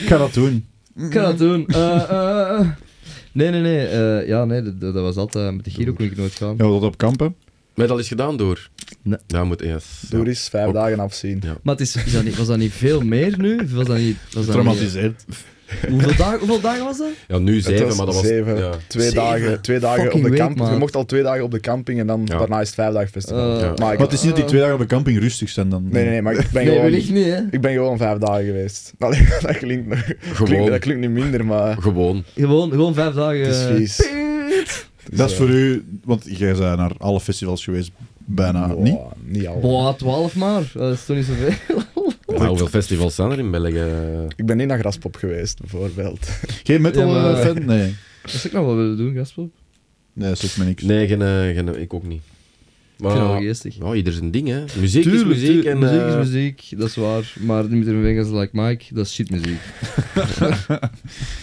S1: ga dat doen.
S2: Ik ga dat doen. Eh, eh, eh. Nee, nee, nee. eh, ja, nee, dat, dat was altijd. Met de Giro kon ik nooit gaan.
S1: Ja, dat op kampen.
S3: Met al is gedaan door.
S2: Nee.
S3: Dat moet eerst.
S7: Doer is vijf
S3: Ook.
S7: dagen afzien.
S3: Ja.
S2: Maar het is, is dat niet, was dat niet veel meer nu? Of Was dat niet. Was dat niet-
S1: Traumatiseerd.
S2: Hoeveel dagen, hoeveel dagen was dat?
S3: Ja, nu zeven, maar dat was...
S7: zeven.
S3: Ja.
S7: Twee
S2: Zeven.
S7: dagen, twee dagen op
S2: Fucking
S7: de
S2: week,
S7: camping. Je
S2: maat.
S7: mocht al twee dagen op de camping en dan
S3: Ja.
S7: daarna is het vijf dagen festival.
S2: Eh,
S3: Ja.
S7: Maar ik-
S1: Maar het is niet dat die twee dagen op de camping rustig zijn dan.
S7: Nee, nee, nee, maar ik ben
S2: Nee,
S7: gewoon...
S2: wellicht niet, hè?
S7: Ik ben gewoon vijf dagen geweest. Allee, dat, klinkt, nog- klinkt, dat klinkt niet minder, maar
S3: Gewoon.
S2: Gewoon, gewoon vijf dagen.
S7: het is
S2: eh,
S7: vies. Het
S1: Dat is
S7: eh,
S1: voor u, want jij bent naar alle festivals geweest, bijna
S7: boah,
S1: niet.
S7: Niet al.
S2: Nou, Boah, twaalf maar. Dat is toch niet zoveel.
S3: Maar hoeveel festivals zijn er in België?
S7: Ik ben niet naar Graspop geweest, bijvoorbeeld.
S1: Geen metal
S2: Ja, maar-
S1: eh, fan? Nee.
S2: Dat zou ik nog wel willen doen, Gaspop.
S1: Nee, dat is me niks.
S3: Nee, geen, eh, geen, ik ook niet.
S2: Ik vind dat wel
S3: Maar
S2: geestig.
S3: ja, ieder zijn ding, hè. Muziek is muziek.
S2: tuurlijk,
S3: en,
S2: muziek is
S3: eh,
S2: muziek, dat is waar. Maar Dimitri van Vegas Like Mike, dat is shitmuziek.
S1: Ze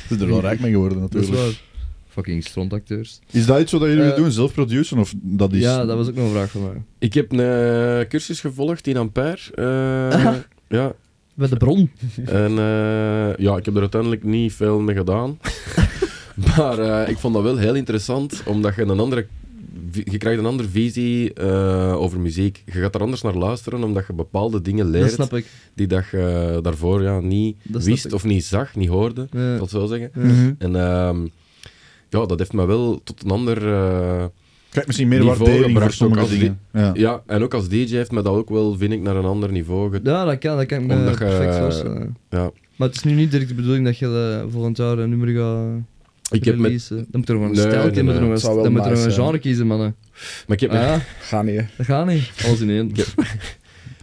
S1: is er wel rijk mee geworden
S2: Dat is
S1: natuurlijk.
S2: waar. Fucking strontacteurs.
S1: Is dat iets wat jullie
S2: Eh,
S1: doen, zelf produceren of dat is...
S2: Ja, dat was ook nog een vraag van mij.
S3: Ik heb een eh, cursus gevolgd in Ampère. eh, ja,
S2: Bij de bron.
S3: En eh, ja, ik heb er uiteindelijk niet veel mee gedaan. maar eh, ik vond dat wel heel interessant, omdat je een andere... vi- Je krijgt een andere visie eh, over muziek. Je gaat er anders naar luisteren, omdat je bepaalde dingen
S2: Dat
S3: leert
S2: snap ik.
S3: die dat je eh, daarvoor ja, niet
S2: Dat snap
S3: wist
S2: ik.
S3: of niet zag, niet hoorde,
S2: Ja.
S3: tot zo zeggen.
S1: Mhm.
S3: En ehm, ja, dat heeft me wel tot een ander... eh,
S1: Krijg misschien meer
S3: Niveau
S1: waardering voor
S3: gebracht ook
S1: sommige
S3: als
S1: dingen. Ja.
S3: ja, en ook als DJ heeft me dat ook wel, vind ik, naar een ander niveau getrokken.
S2: Ja, dat kan, dat kan ik me
S3: Omdat je-
S2: perfect voorstellen.
S3: Ja.
S2: Maar het is nu niet direct de bedoeling dat je eh, volgend jaar een nummer gaat
S3: Ik heb met,
S2: releasen. Dan moet er nog een
S3: Nee,
S2: stijl,
S3: nee,
S2: dan moet er nog
S3: nee.
S2: een-
S7: Het zou wel
S2: dan moet er nog
S7: nice
S2: een
S7: zijn.
S2: genre kiezen, mannen.
S3: maar ik heb
S2: Ah,
S3: met
S2: ja,
S7: Ga niet, hè.
S2: dat gaat niet. Alles in één.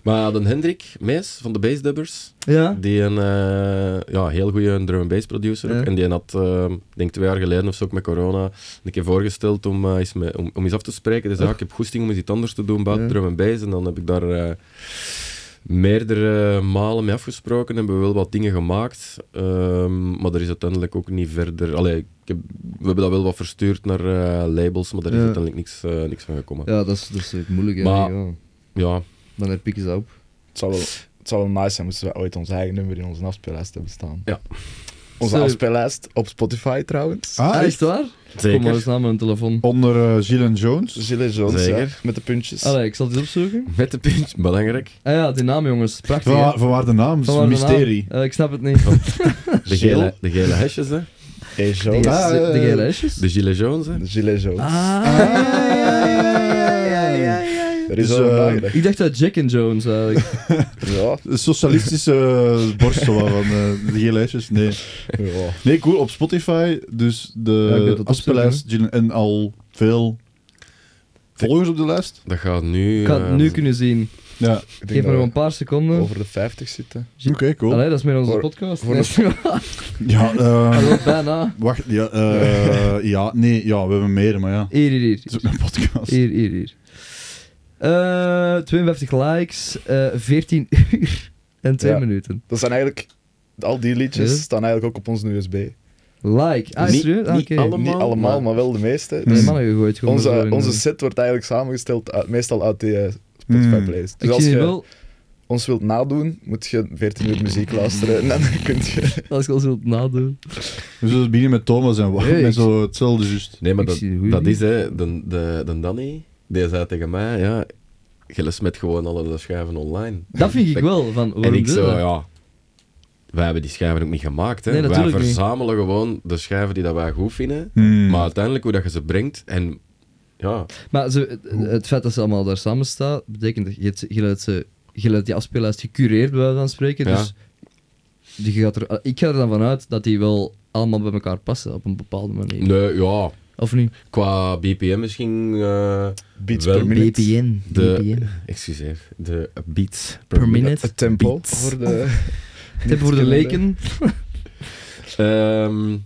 S3: Maar dan Hendrik Mees van de Bassdubbers,
S2: Ja?
S3: die een eh, ja, heel goede drum and bass producer ook.
S2: Ja.
S3: En die had, eh, ik denk twee jaar geleden of zo, ook met corona, een keer voorgesteld om, eh, eens, met- om, om eens af te spreken. Dus ja, ik heb goesting om eens iets anders te doen buiten
S2: Ah. Ja.
S3: drum and bass. En dan heb ik daar eh, meerdere malen mee afgesproken. Hebben we wel wat dingen gemaakt. Ehm, maar er is uiteindelijk ook niet verder... Allee, ik heb, we hebben dat wel wat verstuurd naar eh, labels, maar daar is
S2: Ja.
S3: uiteindelijk niks, eh, niks van gekomen. Ja,
S2: Ja, dat is, dat is het moeilijke. hè.
S3: Maar-
S2: Ja.
S3: ja,
S2: Dan heb ik ze op.
S7: Het zou wel, het zou wel nice zijn moesten we ooit ons eigen nummer in onze afspeellijst hebben staan.
S3: Ja.
S7: Onze
S2: Sorry.
S7: afspeellijst op Spotify trouwens.
S1: Ah,
S2: Ah,
S1: echt?
S2: is het waar? Kom maar eens
S3: zeker.
S2: naar mijn telefoon.
S1: Onder eh, Gilles en Jones.
S7: Gilles Jones,
S3: Zeker.
S7: hè, met de
S3: Oh.
S7: puntjes.
S2: Allee, ik zal het eens opzoeken.
S3: Met de punt, belangrijk.
S2: Ah ja, die naam jongens, prachtig.
S1: Van,
S2: hè?
S1: waar- van waar de naam? Het is
S2: Vanwaar
S1: een
S2: de naam?
S1: mysterie.
S2: Eh, ik snap het niet.
S3: De gele, de gele hesjes, hè?
S7: Hey,
S2: De,
S7: Jones.
S1: Ah,
S2: de, de
S1: eh,
S2: gele hesjes?
S3: De Gilles Jones, hè?
S7: Gilles
S2: Ah.
S7: Jones.
S3: Ah.
S7: Er is
S1: Dus,
S7: wel een
S1: eh,
S7: nagedacht.
S2: Ik dacht dat Jack and Jones eh, eigenlijk.
S7: Ja,
S1: De socialistische eh, borstel van eh de gele lijstjes. Nee.
S7: ja.
S1: nee, cool. Op Spotify, dus
S2: Ja, ik
S1: de
S2: weet dat
S1: afspeellijst Gilles en al veel volgers op de lijst.
S3: Dat gaat nu.
S2: Ik had het
S3: eh,
S2: nu kunnen zien.
S1: Ja,
S7: Ik
S2: Geef
S7: denk
S2: me
S7: dat
S2: nog
S7: we
S2: een paar seconden.
S7: over de 50 zitten.
S1: oké, cool.
S2: Allee, dat is meer onze
S7: Voor-
S2: podcast.
S7: voor
S2: Nee,
S7: de-
S2: is niet waar.
S1: Ja, eh,
S2: Hallo, bijna.
S1: wacht. Ja, eh, ja, nee, ja, we hebben meer, maar ja.
S2: Hier, hier, hier.
S1: Het is ook een podcast.
S2: Hier, hier, hier. Eh, 52 likes, eh 14 uur en 2
S7: Ja.
S2: minuten.
S7: Dat zijn eigenlijk... Al die liedjes
S2: Ja.
S7: staan eigenlijk ook op onze USB.
S2: Like. Ah,
S3: Niet-
S2: serieus? Ah,
S3: niet
S2: Oké.
S3: allemaal.
S7: Niet allemaal,
S3: maar-
S7: maar wel de meeste.
S2: Nee,
S7: Dus
S2: mannen gegooid. gewoon zo
S7: onze,
S2: in,
S7: onze
S2: eh.
S7: set wordt eigenlijk samengesteld uit- meestal uit die eh, Spotify
S3: Hmm.
S1: Mm.
S7: playlist. Dus
S2: Ik
S7: als
S2: zie
S7: je
S2: je wel,
S7: ons wilt nadoen, moet je 14 uur muziek luisteren. En dan kun je...
S2: als ik al zult nadoen.
S1: We zullen beginnen met Thomas en Wouter.
S2: Nee,
S1: met
S2: ik-
S1: zo hetzelfde juist.
S3: Nee, maar
S2: Ik
S3: dat,
S2: zie de goeie
S3: dat
S2: dingen.
S3: is, hè? De, de, de Danny, die zei tegen mij: ja, je smet gewoon alle de schijven online.
S2: Dat vind ik
S3: Dat-
S2: wel, van waarom
S3: en ik
S2: doe
S3: zo,
S2: dat?
S3: ja. Wij hebben die schijven ook niet gemaakt, hè?
S2: Nee,
S3: wij
S2: natuurlijk niet.
S3: verzamelen gewoon de schijven die dat wij goed vinden.
S1: Hmm.
S3: Maar uiteindelijk hoe dat je ze brengt en. Ja,
S2: Maar ze, het- het feit dat ze allemaal daar samen staan, betekent dat je, hebt ze- je, laat, ze, je laat die afspeellijst gecureerd bij wijze van spreken.
S3: Ja.
S2: Dus die gaat er, ik ga er dan vanuit dat die wel allemaal bij elkaar passen op een bepaalde manier.
S3: nee, ja.
S2: Of niet?
S3: Qua BPM misschien. eh,
S7: Beats
S3: Wel
S7: per minute.
S2: BPN.
S3: de,
S2: BPN.
S3: Excuseer. De beats per,
S2: Per
S3: minute.
S2: minute.
S7: Het tempo
S3: Beats.
S7: voor de...
S2: Tip voor de leken.
S3: Ehm,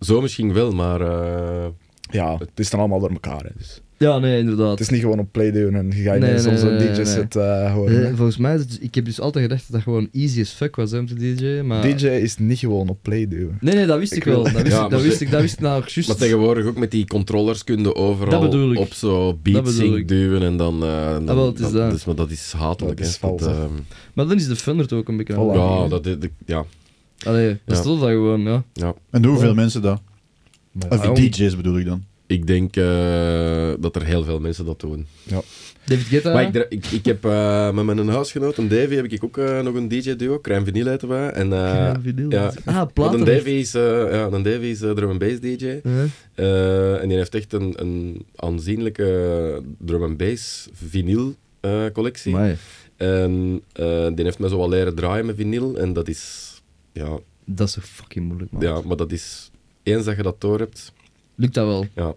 S3: zo misschien wel, maar eh,
S7: Ja, het is dan allemaal door elkaar. hè, Dus.
S2: Ja, nee, inderdaad.
S7: Het is niet gewoon op play doen en je gaat ineens
S2: Nee, nee,
S7: onze
S2: nee, nee, nee.
S7: DJ-set horen.
S2: Eh,
S7: hè.
S2: volgens mij, is het- ik heb dus altijd gedacht dat dat gewoon easy as fuck was hè, om te DJ, maar...
S7: DJ is niet gewoon op play doen.
S2: Nee, nee, dat wist ik,
S7: Ik
S2: wel.
S7: wil-
S2: Dat wist,
S3: Ja,
S2: ik,
S3: maar
S2: dat wist
S3: ze-
S2: ik, dat wist ik nou juist.
S3: maar tegenwoordig ook met die controllers kunnen overal
S2: Dat bedoel ik.
S3: op zo
S2: Dat
S3: beats
S2: bedoel ik.
S3: duwen en dan... eh, dan
S2: Ah, wel, het is dat.
S3: Dus, maar dat is hatelijk.
S7: Dat is
S3: hè. dat,
S7: vals, hè.
S3: ehm,
S2: Maar dan is de fun er toch ook een beetje aan.
S7: Voilà.
S3: ja, dat, is- ja,
S2: Allee, dat
S3: Ja.
S2: is toch dat gewoon, ja.
S1: En doen hoeveel mensen dat?
S7: Maar Ah.
S1: Of die
S7: daarom-
S1: DJ's bedoel ik dan.
S3: ik ik denk eh, dat er heel veel mensen dat doen.
S2: David Guetta.
S3: Maar ik, dra- ik, ik heb eh, met mijn huisgenoot, een Davy, heb ik ook eh, nog een DJ-duo, Crime Vinyl uit wij. En, eh,
S2: Ja, vinyl.
S3: ja.
S2: Ah,
S3: Want
S2: platen.
S3: een Davy is, eh, ja, een Davy is eh, drum-and-bass DJ.
S2: Huh?
S3: Eh, en die heeft echt een, een aanzienlijke drum-and-bass vinyl eh, collectie.
S2: Amai.
S3: En eh, die heeft me zo wat leren draaien met vinyl. En dat is... Ja,
S2: Dat is toch fucking moeilijk, man.
S3: ja, maar dat is... Eens dat je dat door hebt,
S2: Lukt dat wel?
S3: ja.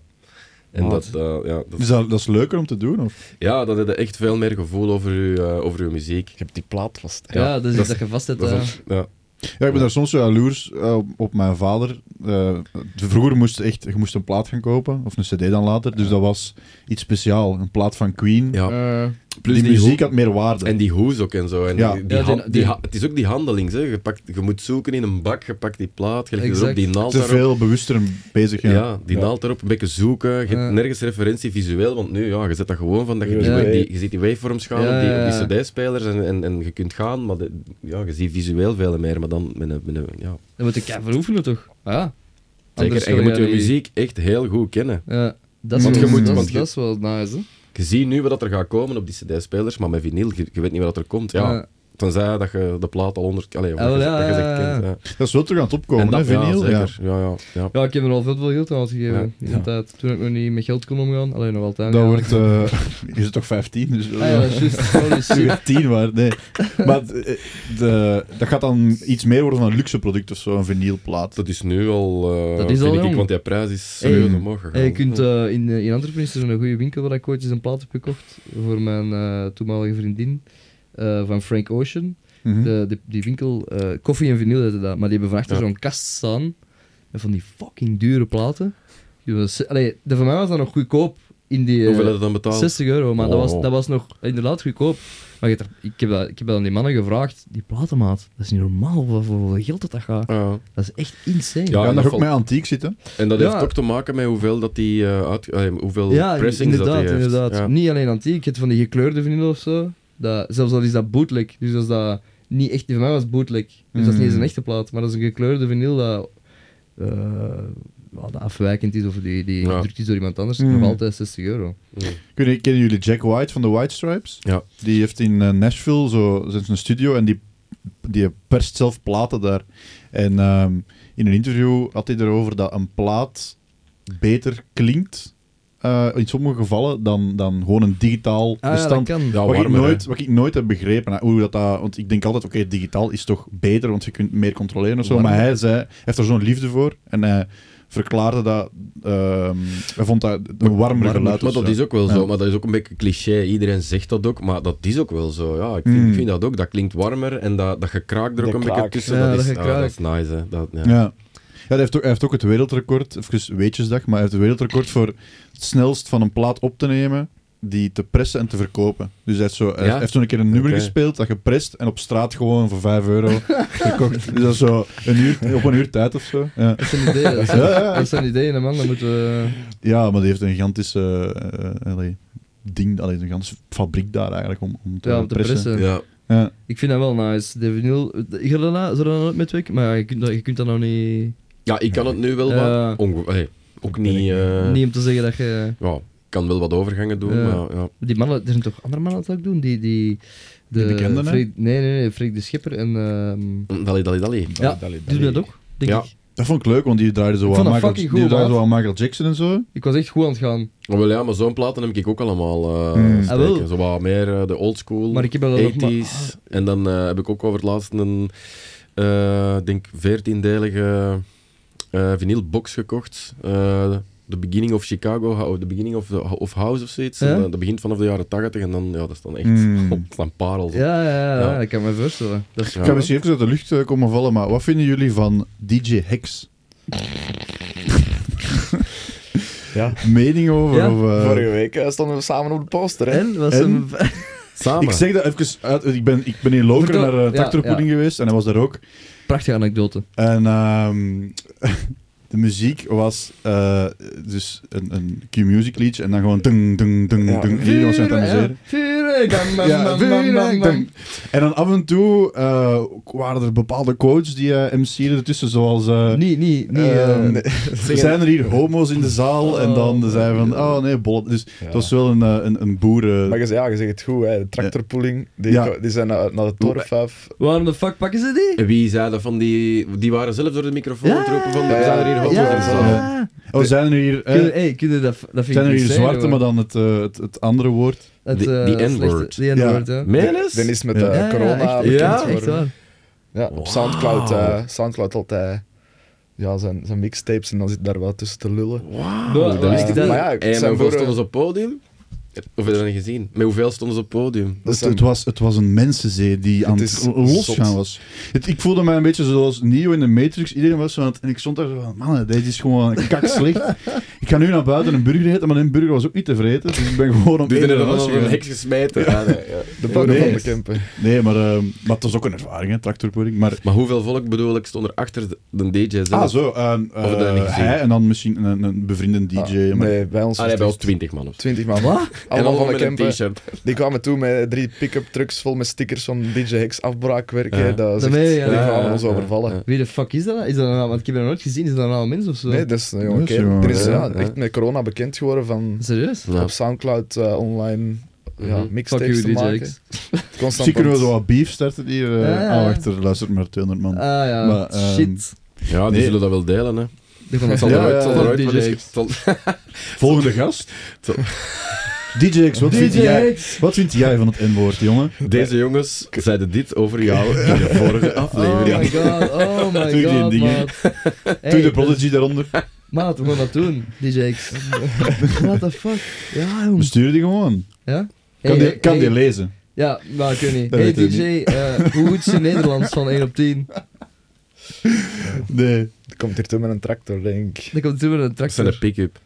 S3: En
S2: Maat.
S3: dat, eh, ja, dat,
S1: Is Dus dat, dat is leuker om te doen? Of?
S3: ja, dan heb je echt veel meer gevoel over je, eh, over je muziek.
S7: Ik heb die plaat vast.
S2: Ja, dat is iets
S3: dat-
S2: dat je vast hebt.
S3: Dat
S2: eh.
S3: is een- ja.
S1: Ja, ik ben daar soms zo jaloers eh, op- op mijn vader. Eh, vroeger moest je echt, je moest een plaat gaan kopen, of een cd dan later. Dus dat was iets speciaal. Een plaat van Queen.
S3: Ja.
S2: Eh,
S3: Plus
S1: die,
S3: die
S1: muziek
S3: ho-
S1: had meer waarde.
S3: En die hoes ook en zo. En
S1: Ja.
S3: die, die
S2: Ja, die-
S3: ha- die
S2: die-
S3: ha- het is ook die handeling. Zeg. Je, pakt, je moet zoeken in een bak, je pakt die plaat, je legt
S2: Exact.
S3: erop, die naald
S1: te
S3: daarop.
S1: veel bewuster bezig.
S3: Ja,
S1: Ja.
S3: die naald erop, een beetje zoeken. Je hebt
S2: Ja.
S3: nergens referentie visueel, want nu, ja, je zet dat gewoon van dat je, die,
S7: Ja.
S3: wa- die- je ziet die waveforms gaan
S2: Ja,
S3: op die,
S2: ja, ja.
S3: op die cd-spelers en, en, en je kunt gaan, maar de- ja, je ziet visueel veel meer, maar dan met een, met een- ja.
S2: dan moet ik keihard oefenen, toch? Ah, ja. Anders
S3: Zeker, en je
S2: ga
S3: moet je
S2: die-
S3: muziek echt heel goed kennen.
S2: Ja, dat is,
S3: Want
S2: wel,
S3: je moet-
S2: dat, is-
S3: want je-
S2: dat is wel nice, hè?
S3: Je ziet nu wat er gaat komen op die cd-spelers, maar met vinyl, je, je weet niet wat er komt. Ja,
S2: Ja.
S3: Tenzij dat je de plaat al honderd... Allee, of
S2: Ah,
S3: dat je-
S2: wel, ja,
S3: dat je ze
S2: ja, ja,
S3: kent,
S2: ja.
S3: ja.
S1: Dat is wel terug aan het opkomen, hè,
S3: dat-
S1: vinyl.
S3: Ja,
S1: Ja,
S3: zeker. Ja, ja, ja.
S2: Ja, ik heb er al veel, veel geld aan uitgegeven
S3: Ja.
S2: in de tijd. Toen ik nog niet met geld kon omgaan, alleen nog altijd.
S1: Dat
S2: ja.
S1: wordt... eh je zit toch 15? Dus,
S2: Ah, ja, dat is juist. Holy
S1: Toen
S2: shit.
S1: je tien waren, nee. Maar de, de- dat gaat dan iets meer worden van een luxe product of zo, een vinylplaat.
S3: Dat is nu al... eh,
S2: Dat is al
S3: vind ik,
S2: jong.
S3: Want die prijs is
S2: Hey.
S3: serieus omhoog gegaan.
S2: Hey, je kunt, eh, in, eh, in Antwerpen is er een goede winkel waar ik ooit eens een plaat heb gekocht voor mijn eh, toenmalige vriendin eh, van Frank Ocean.
S1: Mhm.
S2: De, de- die winkel, eh, koffie en vinyl heette dat, maar die hebben van achter
S3: Ja.
S2: zo'n kast staan met van die fucking dure platen. Die was, allee, de, voor mij was dat nog goedkoop in die... eh,
S3: Hoeveel heb je dan betaald?
S2: 60 euro, maar dat, was,
S3: Oh.
S2: dat was nog inderdaad goedkoop. Maar je hebt er- ik, heb dat, ik heb dat aan die mannen gevraagd, die platenmaat, dat is niet normaal voor hoeveel geld dat, dat gaat.
S3: Ja.
S2: Dat is echt insane.
S3: Ja,
S1: Ja,
S3: en
S1: en dat
S3: dat
S1: ook
S3: valt-
S1: met antiek zitten.
S3: En dat
S2: Ja.
S3: heeft ook te maken met hoeveel dat die eh, uit, eh, hoeveel pressings
S2: inderdaad,
S3: dat die heeft.
S2: inderdaad.
S3: Ja.
S2: Niet alleen antiek, je hebt van die gekleurde vinyl of zo. Dat, zelfs al is dat bootleg, dus dat is dat niet echt, voor mij was het bootleg. Dus dat
S3: Mm.
S2: is niet eens een echte plaat, maar dat is een gekleurde vinyl dat, eh, wel, dat afwijkend is of die, die
S3: Ja.
S2: gedrukt is door iemand anders.
S1: Mm.
S2: Nog altijd 60 euro.
S1: Kunnen- Kennen jullie Jack White van de White Stripes?
S3: Ja.
S1: Die heeft in eh, Nashville zo, er is een studio en die, die perst zelf platen daar. En ehm, in een interview had hij erover dat een plaat beter klinkt, eh, in sommige gevallen, dan, dan gewoon een digitaal
S2: Ah, ja, dat
S1: bestand.
S2: kan.
S3: Ja,
S1: wat, ik
S3: warmer,
S1: nooit,
S3: hè.
S1: wat ik nooit heb begrepen, hè, hoe dat, dat, want ik denk altijd, oké, digitaal is toch beter, want je kunt meer controleren of zo.
S2: Warmer.
S1: Maar hij zei, hij heeft er zo'n liefde voor en hij verklaarde dat, ehm, hij vond dat een warmer geluid.
S3: Maar
S1: of
S3: dat
S1: zo.
S3: is ook wel
S1: Ja.
S3: zo, maar dat is ook een beetje cliché. Iedereen zegt dat ook, maar dat is ook wel zo. Ja, ik vind,
S2: Hmm.
S1: Mm.
S3: ik vind dat ook. Dat klinkt warmer en dat, dat gekraak er ook
S7: Dat
S3: een beetje
S7: kraak.
S3: tussen.
S2: Ja,
S3: dat,
S2: dat
S3: is,
S2: gekraak.
S3: ah, dat is nice, hè. Dat, ja.
S1: Ja. Ja, hij heeft, ook, hij heeft ook het wereldrecord, even weetjesdag, maar hij heeft het wereldrecord voor het snelst van een plaat op te nemen, die te pressen en te verkopen. Dus hij heeft, zo, hij
S3: Ja?
S1: heeft toen een keer een nummer
S3: Oké.
S1: gespeeld, dat geprest en op straat gewoon voor 5 euro verkocht. Dus dat is zo een uur, op een uur tijd of zo. Ja,
S2: Dat zijn ideeën, dat zijn, dat zijn ideeën, man. Dan moeten we...
S1: ja maar die heeft een gigantische eh, allee, ding, allee, een gigantische fabriek daar eigenlijk om, om te,
S2: Ja, om te
S1: pressen.
S2: pressen.
S3: Ja.
S1: Ja.
S2: Ik vind dat wel nice. De vinyl, ik ga daarna, zou dat nou nooit mee werken? Maar ja, je kunt dat, je kunt dat nou niet...
S3: ja, ik kan het nu wel
S2: Ja.
S3: wat. onge- allee, ook niet. eh,
S2: Niet om te zeggen dat je...
S3: Ja, ik kan wel wat overgangen doen,
S2: Ja.
S3: maar ja.
S2: Die mannen, er zijn toch andere mannen dat ook doen? Die, die, de,
S1: Die bekenden, hè?
S2: Freek- nee, nee, nee, Freek de Schipper en... ehm
S3: Dalli, dalli, dalli.
S2: ja, die doen dat ook, denk
S3: Ja.
S2: ik.
S1: Dat vond ik leuk, want die draaiden zo
S2: Ik
S1: aan
S2: vond dat
S1: Michael,
S2: fucking
S1: die
S2: goed,
S1: draaiden zo
S2: maat.
S1: aan Michael Jackson en zo.
S2: Ik was echt goed aan het gaan.
S3: Ah, wel ja, maar zo'n platen heb ik ook allemaal eh
S1: Mm.
S3: steken.
S2: Ah, wel.
S3: Zo wat meer eh, de old school,
S2: Maar ik heb wel nog
S3: 80s.
S2: maar- Ah,
S3: En dan eh, heb ik ook over het laatst een, eh denk, 14-delige eh vinylbox gekocht. Eh, The Beginning of Chicago, of The Beginning of, the- of House of zoiets.
S2: Ja? Hmm.
S3: En, eh, dat begint vanaf de jaren 80 en dan, ja, dat is dan echt,
S1: Mm.
S3: op, dan parels. op.
S2: Ja, ja, ja,
S3: Ja.
S2: ik kan me voorstellen. Dat is
S3: Ja.
S1: Ik ga misschien even uit de lucht eh, komen vallen, maar wat vinden jullie van DJ Hex?
S7: Ja.
S1: Mening over?
S2: Ja,
S1: of, eh,
S7: Vorige week eh, stonden we samen op de poster. Hè?
S2: En? Was
S1: En?
S2: hem...
S3: Samen.
S1: ik zeg dat even uit. Ik ben, ik ben in Lokeren
S2: Vertel-
S1: naar eh,
S2: ja,
S1: tractorpoeding geweest en hij was daar ook.
S2: Prachtige anekdote.
S1: En ehm, de muziek was eh, dus een, een Q-music liedje en dan gewoon dung, dung, dung,
S7: Ja.
S1: dung. En iedereen was aan het
S2: Vuren,
S1: amuseren.
S2: ja, vuren,
S1: Ja, En dan af en toe eh, waren er bepaalde quotes die eh MC ertussen, zoals... eh,
S2: Nee, nee, nee.
S1: ehm,
S2: eh,
S1: er zijn er hier homo's in de zaal en dan zei van, oh nee, bollet. Dus het was wel een, eh, een, een boeren...
S7: Maar je, ja, je zegt het goed, hè. de tractorpooling, die,
S1: Ja.
S7: die zijn naar, naar de Torfaf.
S2: Waarom de fuck pakken ze die?
S3: En Wie zei dat van die... Die waren zelf door de microfoon aan het roepen van...
S7: ja,
S3: we zijn er hier
S7: ja,
S3: homo's
S2: ja.
S3: in de zaal."
S1: Oh, zijn er hier... eh,
S2: Kunnen- hey, kunnen dat, dat vind
S1: zijn er
S2: ik
S1: hier
S2: niet zeggen,
S1: zwarte, maar
S2: hoor.
S1: dan het, eh, het, het andere woord?
S2: Het,
S3: Die-
S2: eh,
S3: die
S2: slechte-
S3: N-word.
S2: Die N-word,
S1: Eh,
S2: ja.
S3: Meen
S7: Dan
S3: eens?
S7: is met
S1: Ja.
S7: eh, corona
S2: echt,
S7: bekend
S2: echt, echt
S7: geworden.
S2: waar.
S7: Ja, op Soundcloud, eh, Soundcloud altijd ja, zijn, zijn mixtapes en dan zit daar wel tussen te lullen.
S2: Wow,
S3: dat
S2: ja.
S3: wist ik
S7: Maar
S3: niet.
S7: ja,
S3: Hey,
S7: ik
S3: maar
S7: zijn
S3: hoeveel
S7: voor,
S3: stonden
S7: eh,
S3: ze op podium? Of heb je dat niet gezien? Met hoeveel stonden ze op podium?
S7: Dat
S1: Het,
S7: zijn-
S1: het, was, het was een mensenzee die aan
S7: is
S1: het losgaan
S7: zot.
S1: was. Het, ik voelde mij een beetje zoals Neo in de Matrix. Iedereen was zo aan het... En ik stond daar zo van... Man, deze is gewoon kak slecht. ik ga nu naar buiten een burger eten, maar een burger was ook niet te vreten. Dus ik ben gewoon op
S3: Die
S1: één
S3: zijn er
S1: was
S3: dan een
S1: gegaan.
S3: heks gesmeten. Ja, nee, ja.
S7: De boeren
S1: nee.
S7: van de Kempen.
S1: Nee, maar, ehm, maar het was ook een ervaring, hè, tractorpudding. Maar...
S3: Maar hoeveel volk bedoel ik stond er achter de, de DJ zelf?
S1: Ah, zo. ehm,
S3: dat
S1: eh,
S3: niet gezien.
S1: hij en dan misschien een, een bevriende DJ.
S7: Ah,
S1: maar
S7: nee, bij ons was
S3: Ah, nee, bij
S7: het
S3: ons 20 man. of zo.
S7: 20 man. Wat?
S3: En
S7: Allemaal van de
S3: met een
S7: Kempen.
S3: t-shirt.
S7: Die kwamen toe met drie pick-up trucks vol met stickers van DJ Hex afbraakwerken.
S3: Ja.
S7: Dat is
S2: Dat
S7: echt-
S2: meen je, ja.
S7: Die
S3: Ja,
S7: gaan
S3: ja,
S7: ons
S3: ja,
S7: overvallen.
S3: ja.
S2: Wie de fuck is dat? Is dat een, want ik heb dat nog nooit gezien. Is dat een oude mens of zo?
S7: Nee, dat is een jonge
S1: Dat is
S7: kerel.
S1: jongen,
S7: Er is
S3: ja,
S7: ja,
S3: ja.
S7: echt met corona bekend geworden van
S2: Serieus?
S3: Ja.
S7: op Soundcloud eh, online ja,
S3: Mhm.
S2: Fuck
S7: mixtapes
S2: you,
S7: te
S2: DJ
S7: maken.
S2: X.
S7: Constant
S1: Misschien kunnen we
S7: aan-
S1: zo wat beef starten hier. eh,
S2: Ja, ja, ja.
S1: ah, wacht, er luistert maar 200 man.
S2: Ah ja,
S1: Maar, ehm,
S2: shit.
S3: Ja, die
S1: Nee.
S3: zullen dat wel delen. Hè.
S2: Die van
S3: Het zal
S1: Ja,
S3: eruit, het zal
S1: ja,
S3: eruit,
S2: DJ
S3: maar dus-
S2: X.
S3: het zal-
S1: Volgende gast. DJ X, wat, Vind jij, wat vind jij van het N-woord, jongen?
S3: Deze jongens zeiden dit over jou in de vorige
S2: Oh
S3: aflevering.
S2: my god, oh my
S1: Doe die
S2: god,
S1: dingen.
S2: maat. Hey,
S1: Doe de Prodigy daaronder.
S2: Maat, we gaan dat doen, DJ X. What the fuck? Ja, jongen.
S1: Bestuur die gewoon.
S2: Ja?
S1: Kan,
S2: Hey,
S1: die,
S2: hey,
S1: kan die
S2: hey.
S1: lezen?
S2: Ja, nou, ik weet niet.
S1: Dat
S2: hey
S1: weten we
S2: DJ, eh, hoe goed is je Nederlands van 1 op 10?
S1: Nee.
S7: Komt hier toe met een tractor, denk ik.
S2: Dan komt toen weer een
S3: Dat
S2: tractor.
S3: zijn een pick-up.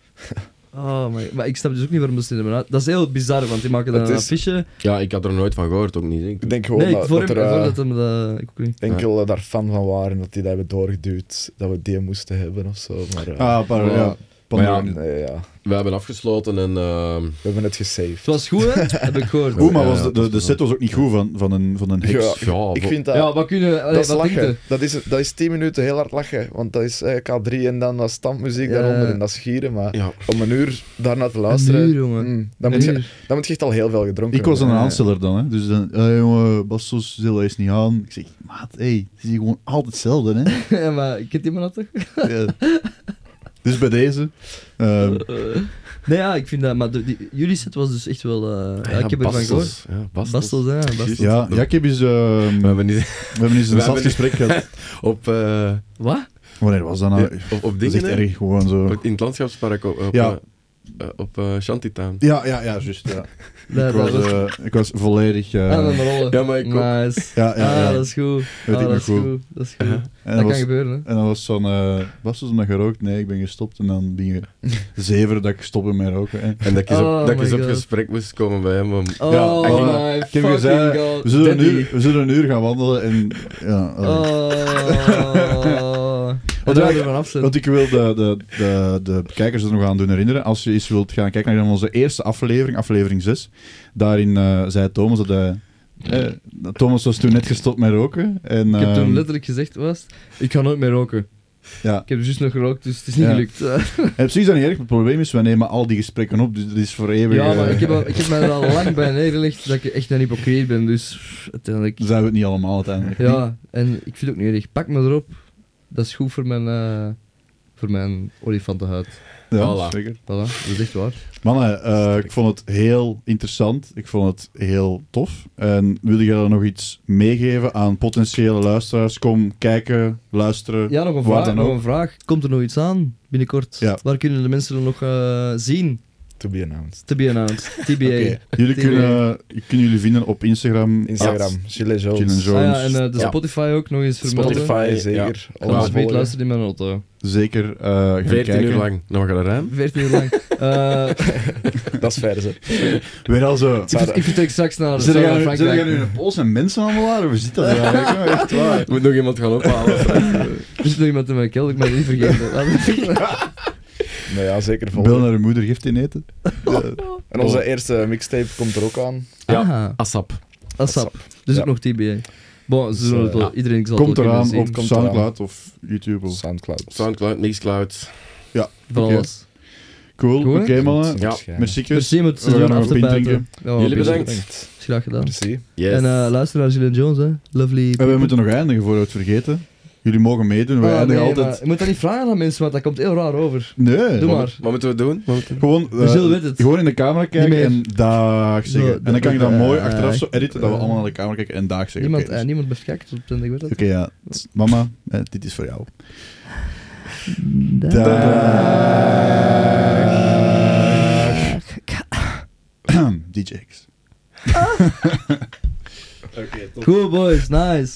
S2: Oh my, maar ik snap dus ook niet waarom dat ze dit hebben uit- Dat is heel bizar, want die maken dan
S7: Het
S2: een
S7: is-
S2: affiche.
S3: Ja, ik had er nooit van gehoord, ook niet. Ik
S7: Ik denk gewoon
S2: Nee,
S7: dat,
S2: voor
S7: dat
S2: hem,
S7: er eh,
S2: voordat hem dat... Ik ook niet.
S7: enkele daar fan van waren dat die dat hebben doorgeduwd. Dat we die moesten hebben of zo. Maar, eh,
S1: Ah, paar,
S3: Ja.
S1: ja.
S3: Maar ja,
S1: Pandora.
S7: nee, ja.
S3: We hebben afgesloten en... ehm,
S7: We hebben het gesaved.
S2: Het was goed, hè? Heb ik gehoord.
S1: Oeh, maar
S3: Ja,
S1: was
S3: ja,
S1: de, de, de set was ook niet goed van, van een, van een heks.
S7: Ja,
S3: ja,
S7: ik
S3: vo-
S7: vind dat...
S2: Ja, wat kunnen we... allee,
S7: dat is
S2: wat denkt
S7: lachen.
S2: je?
S7: Dat is, dat is 10 minuten heel hard lachen. Want dat is eh, K3 en dan dat standmuziek
S2: Ja.
S7: daaronder en dat schieren. Maar
S3: ja.
S7: om een uur daarnaar te luisteren.
S2: Een uur, jongen.
S7: mm, dan,
S2: Een
S7: moet je,
S2: uur.
S7: dan moet je echt al heel veel gedronken
S1: Ik was dan een
S7: hebben.
S1: aansteller dan, hè. Dus dan, eh, jongen, Bas, zo stil, hij is niet aan. Ik zeg, maat, hé, hey, het is hier gewoon altijd hetzelfde, hè.
S2: Ja, maar kent die man dat toch?
S1: Ja. Dus bij deze. ehm,
S2: Nee, ja, ik vind dat... Maar de- die, jullie set was dus echt wel... eh, ja, ik heb ervan gehoord.
S3: Bastels. Ja, Bastels.
S2: Bastels, hè? Bastels.
S1: ja, Jacob is... ehm,
S3: We hebben niet...
S1: we hebben eens een
S3: we
S1: zat
S3: hebben-
S1: gesprek gehad.
S3: Op, eh,
S2: Wat?
S1: Wanneer was dat nou?
S3: op, op
S1: dat is
S3: dingen,
S1: echt
S3: hè?
S1: erg, gewoon zo.
S3: In het landschapspark. Op, op,
S1: Ja.
S3: eh, eh, op eh, Shantytown.
S1: Ja, ja, ja, juist, ja.
S2: Nee,
S1: Ik
S2: dat
S1: was,
S2: was...
S1: eh, ik was volledig... eh,
S2: Aan de rollen.
S3: Ja, maar ik ook.
S2: Nice.
S1: ja, ja, ja.
S2: Ah, dat is goed.
S1: Weet ik
S2: Ah, dat
S1: nog
S2: is
S1: goed.
S2: goed. Dat is goed.
S1: Uh-huh. en,
S2: Dat
S1: dat
S2: kan
S1: was,
S2: gebeuren, hè?
S1: en dat was zo'n... eh was dus omdat je rookt? Nee, ik ben gestopt. En dan ben je zever dat ik stoppen met roken. hè.
S3: En dat ik eens op,
S2: Oh
S3: dat ik eens
S2: my
S3: op
S2: God.
S3: gesprek moest komen bij hem. Om,
S2: Oh
S1: Ja,
S3: ik-
S2: my
S1: Ik heb
S2: fucking
S1: gezegd,
S2: god.
S1: we zullen, een
S2: Daddy.
S1: uur, we zullen een uur gaan wandelen en... Ja, allee.
S2: Oh.
S1: Wat
S2: Wat wil je
S1: eigenlijk-
S2: van afzetten?
S1: Want ik wil de, de, de, de kijkers er nog aan doen herinneren. Als je eens wilt gaan kijken naar onze eerste aflevering, aflevering 6. Daarin eh, zei Thomas dat hij... eh, dat Thomas was toen net gestopt met roken. En,
S2: Ik heb toen
S1: ehm,
S2: letterlijk gezegd, was, ik ga nooit meer roken.
S1: Ja.
S2: Ik heb juist nog gerookt, dus het is niet
S1: Ja.
S2: gelukt.
S1: en precies dat niet erg. maar Het probleem is, wij nemen al die gesprekken op. Dus dat is voor eeuwig...
S2: ja, maar
S1: eh,
S2: ik heb, al- ik heb mij er al lang bij neergelegd dat ik echt een hypocriet ben, dus pff, uiteindelijk.
S1: Dan zijn we het niet allemaal uiteindelijk.
S2: Ja, en ik vind het ook niet erg. Pak me erop. Dat is goed voor mijn, eh, voor mijn olifantenhuid.
S1: Ja,
S3: Voilà.
S1: zeker.
S2: Voilà, dat is echt waar.
S1: Mannen, eh, ik vond het heel interessant. Ik vond het heel tof. En wilde jij dan nog iets meegeven aan potentiële luisteraars? Kom kijken, luisteren.
S2: Ja, nog een
S1: Waar
S2: vraag.
S1: dan
S2: Nog
S1: ook.
S2: een vraag. Komt er nog iets aan binnenkort?
S1: Ja.
S2: Waar kunnen de mensen er nog eh, zien?
S7: To be announced.
S2: To be announced. TBA.
S1: Jullie
S2: Tien
S1: kunnen, eh, kunnen jullie vinden op Instagram.
S7: Instagram, Gilles Jones.
S1: Gilles Jones.
S2: Ah ja, en eh, de
S3: Ja.
S2: Spotify ook nog eens vermelden.
S7: Spotify, zeker.
S3: Ja.
S2: Anders
S7: Alles
S2: weet
S7: volgen.
S2: luisteren in mijn auto.
S1: Zeker eh gaan
S3: 14
S1: kijken.
S3: uur lang. Nou, we gaan eruit.
S2: 14 uur lang. Eh,
S7: Dat is fair, ze.
S1: Weer al zo.
S2: ik, ver- ik vertrek straks naar
S1: Zit
S2: naar
S1: jij nu- zit jij
S2: Frankrijk.
S1: nu in een pols en mensen aan waar? Hoe zit dat eigenlijk? Ja, Echt waar.
S3: Ik moet nog iemand gaan ophalen.
S2: Ah, Er is nog iemand in mijn kelder, ik ben het niet vergeten.
S7: Nou ja, zeker
S1: Bel
S7: volgen.
S1: naar hun moeder, geeft in eten.
S7: En onze eerste mixtape komt er ook aan.
S2: Aha.
S3: ASAP.
S2: ASAP. Dus
S7: Ja.
S2: ook nog TBA. Bon, ze zullen het wel,
S7: Ja.
S2: iedereen zal
S1: Komt
S2: het wel
S1: eraan
S2: zien.
S1: op
S7: komt
S1: Soundcloud of YouTube. Of...
S7: Soundcloud.
S3: Soundcloud, Mixcloud.
S1: Ja,
S2: Van
S1: oké.
S2: alles.
S1: Cool,
S2: Goed, hè?
S1: oké mannen.
S3: Ja.
S1: Merci Chris.
S2: Merci om het
S1: We gaan
S2: seizoen
S1: nog
S2: af
S1: een
S2: te
S1: pint
S2: bijten.
S1: drinken.
S2: Ja,
S3: Jullie
S2: bedankt.
S3: bedankt.
S2: Is graag gedaan.
S7: Merci.
S3: Yes.
S2: En eh luister naar Gillian Jones, hè. Lovely.
S1: En we moeten nog eindigen voor we het vergeten. Jullie mogen meedoen, wij
S2: Ah, nee,
S1: eindigen
S2: maar
S1: altijd.
S2: Je moet dat niet vragen aan mensen, want dat komt heel raar over.
S1: Nee.
S2: Doe maar.
S3: Wat moeten we doen?
S1: Gewoon, eh,
S2: Gilles weet het.
S1: gewoon in de camera kijken
S2: meer.
S1: en dag zeggen.
S2: Zo,
S1: en dan kan ik dat
S2: eh,
S1: mooi achteraf zo editen dat we
S2: eh,
S1: allemaal naar de camera kijken en dag zeggen.
S2: Niemand,
S1: Oké, dus-
S2: eh, niemand beschrijft op ik weet dat.
S1: Oké, ja. Tss, Mama, eh, dit is voor jou.
S2: Dag.
S1: DJ's.
S2: Cool boys, nice.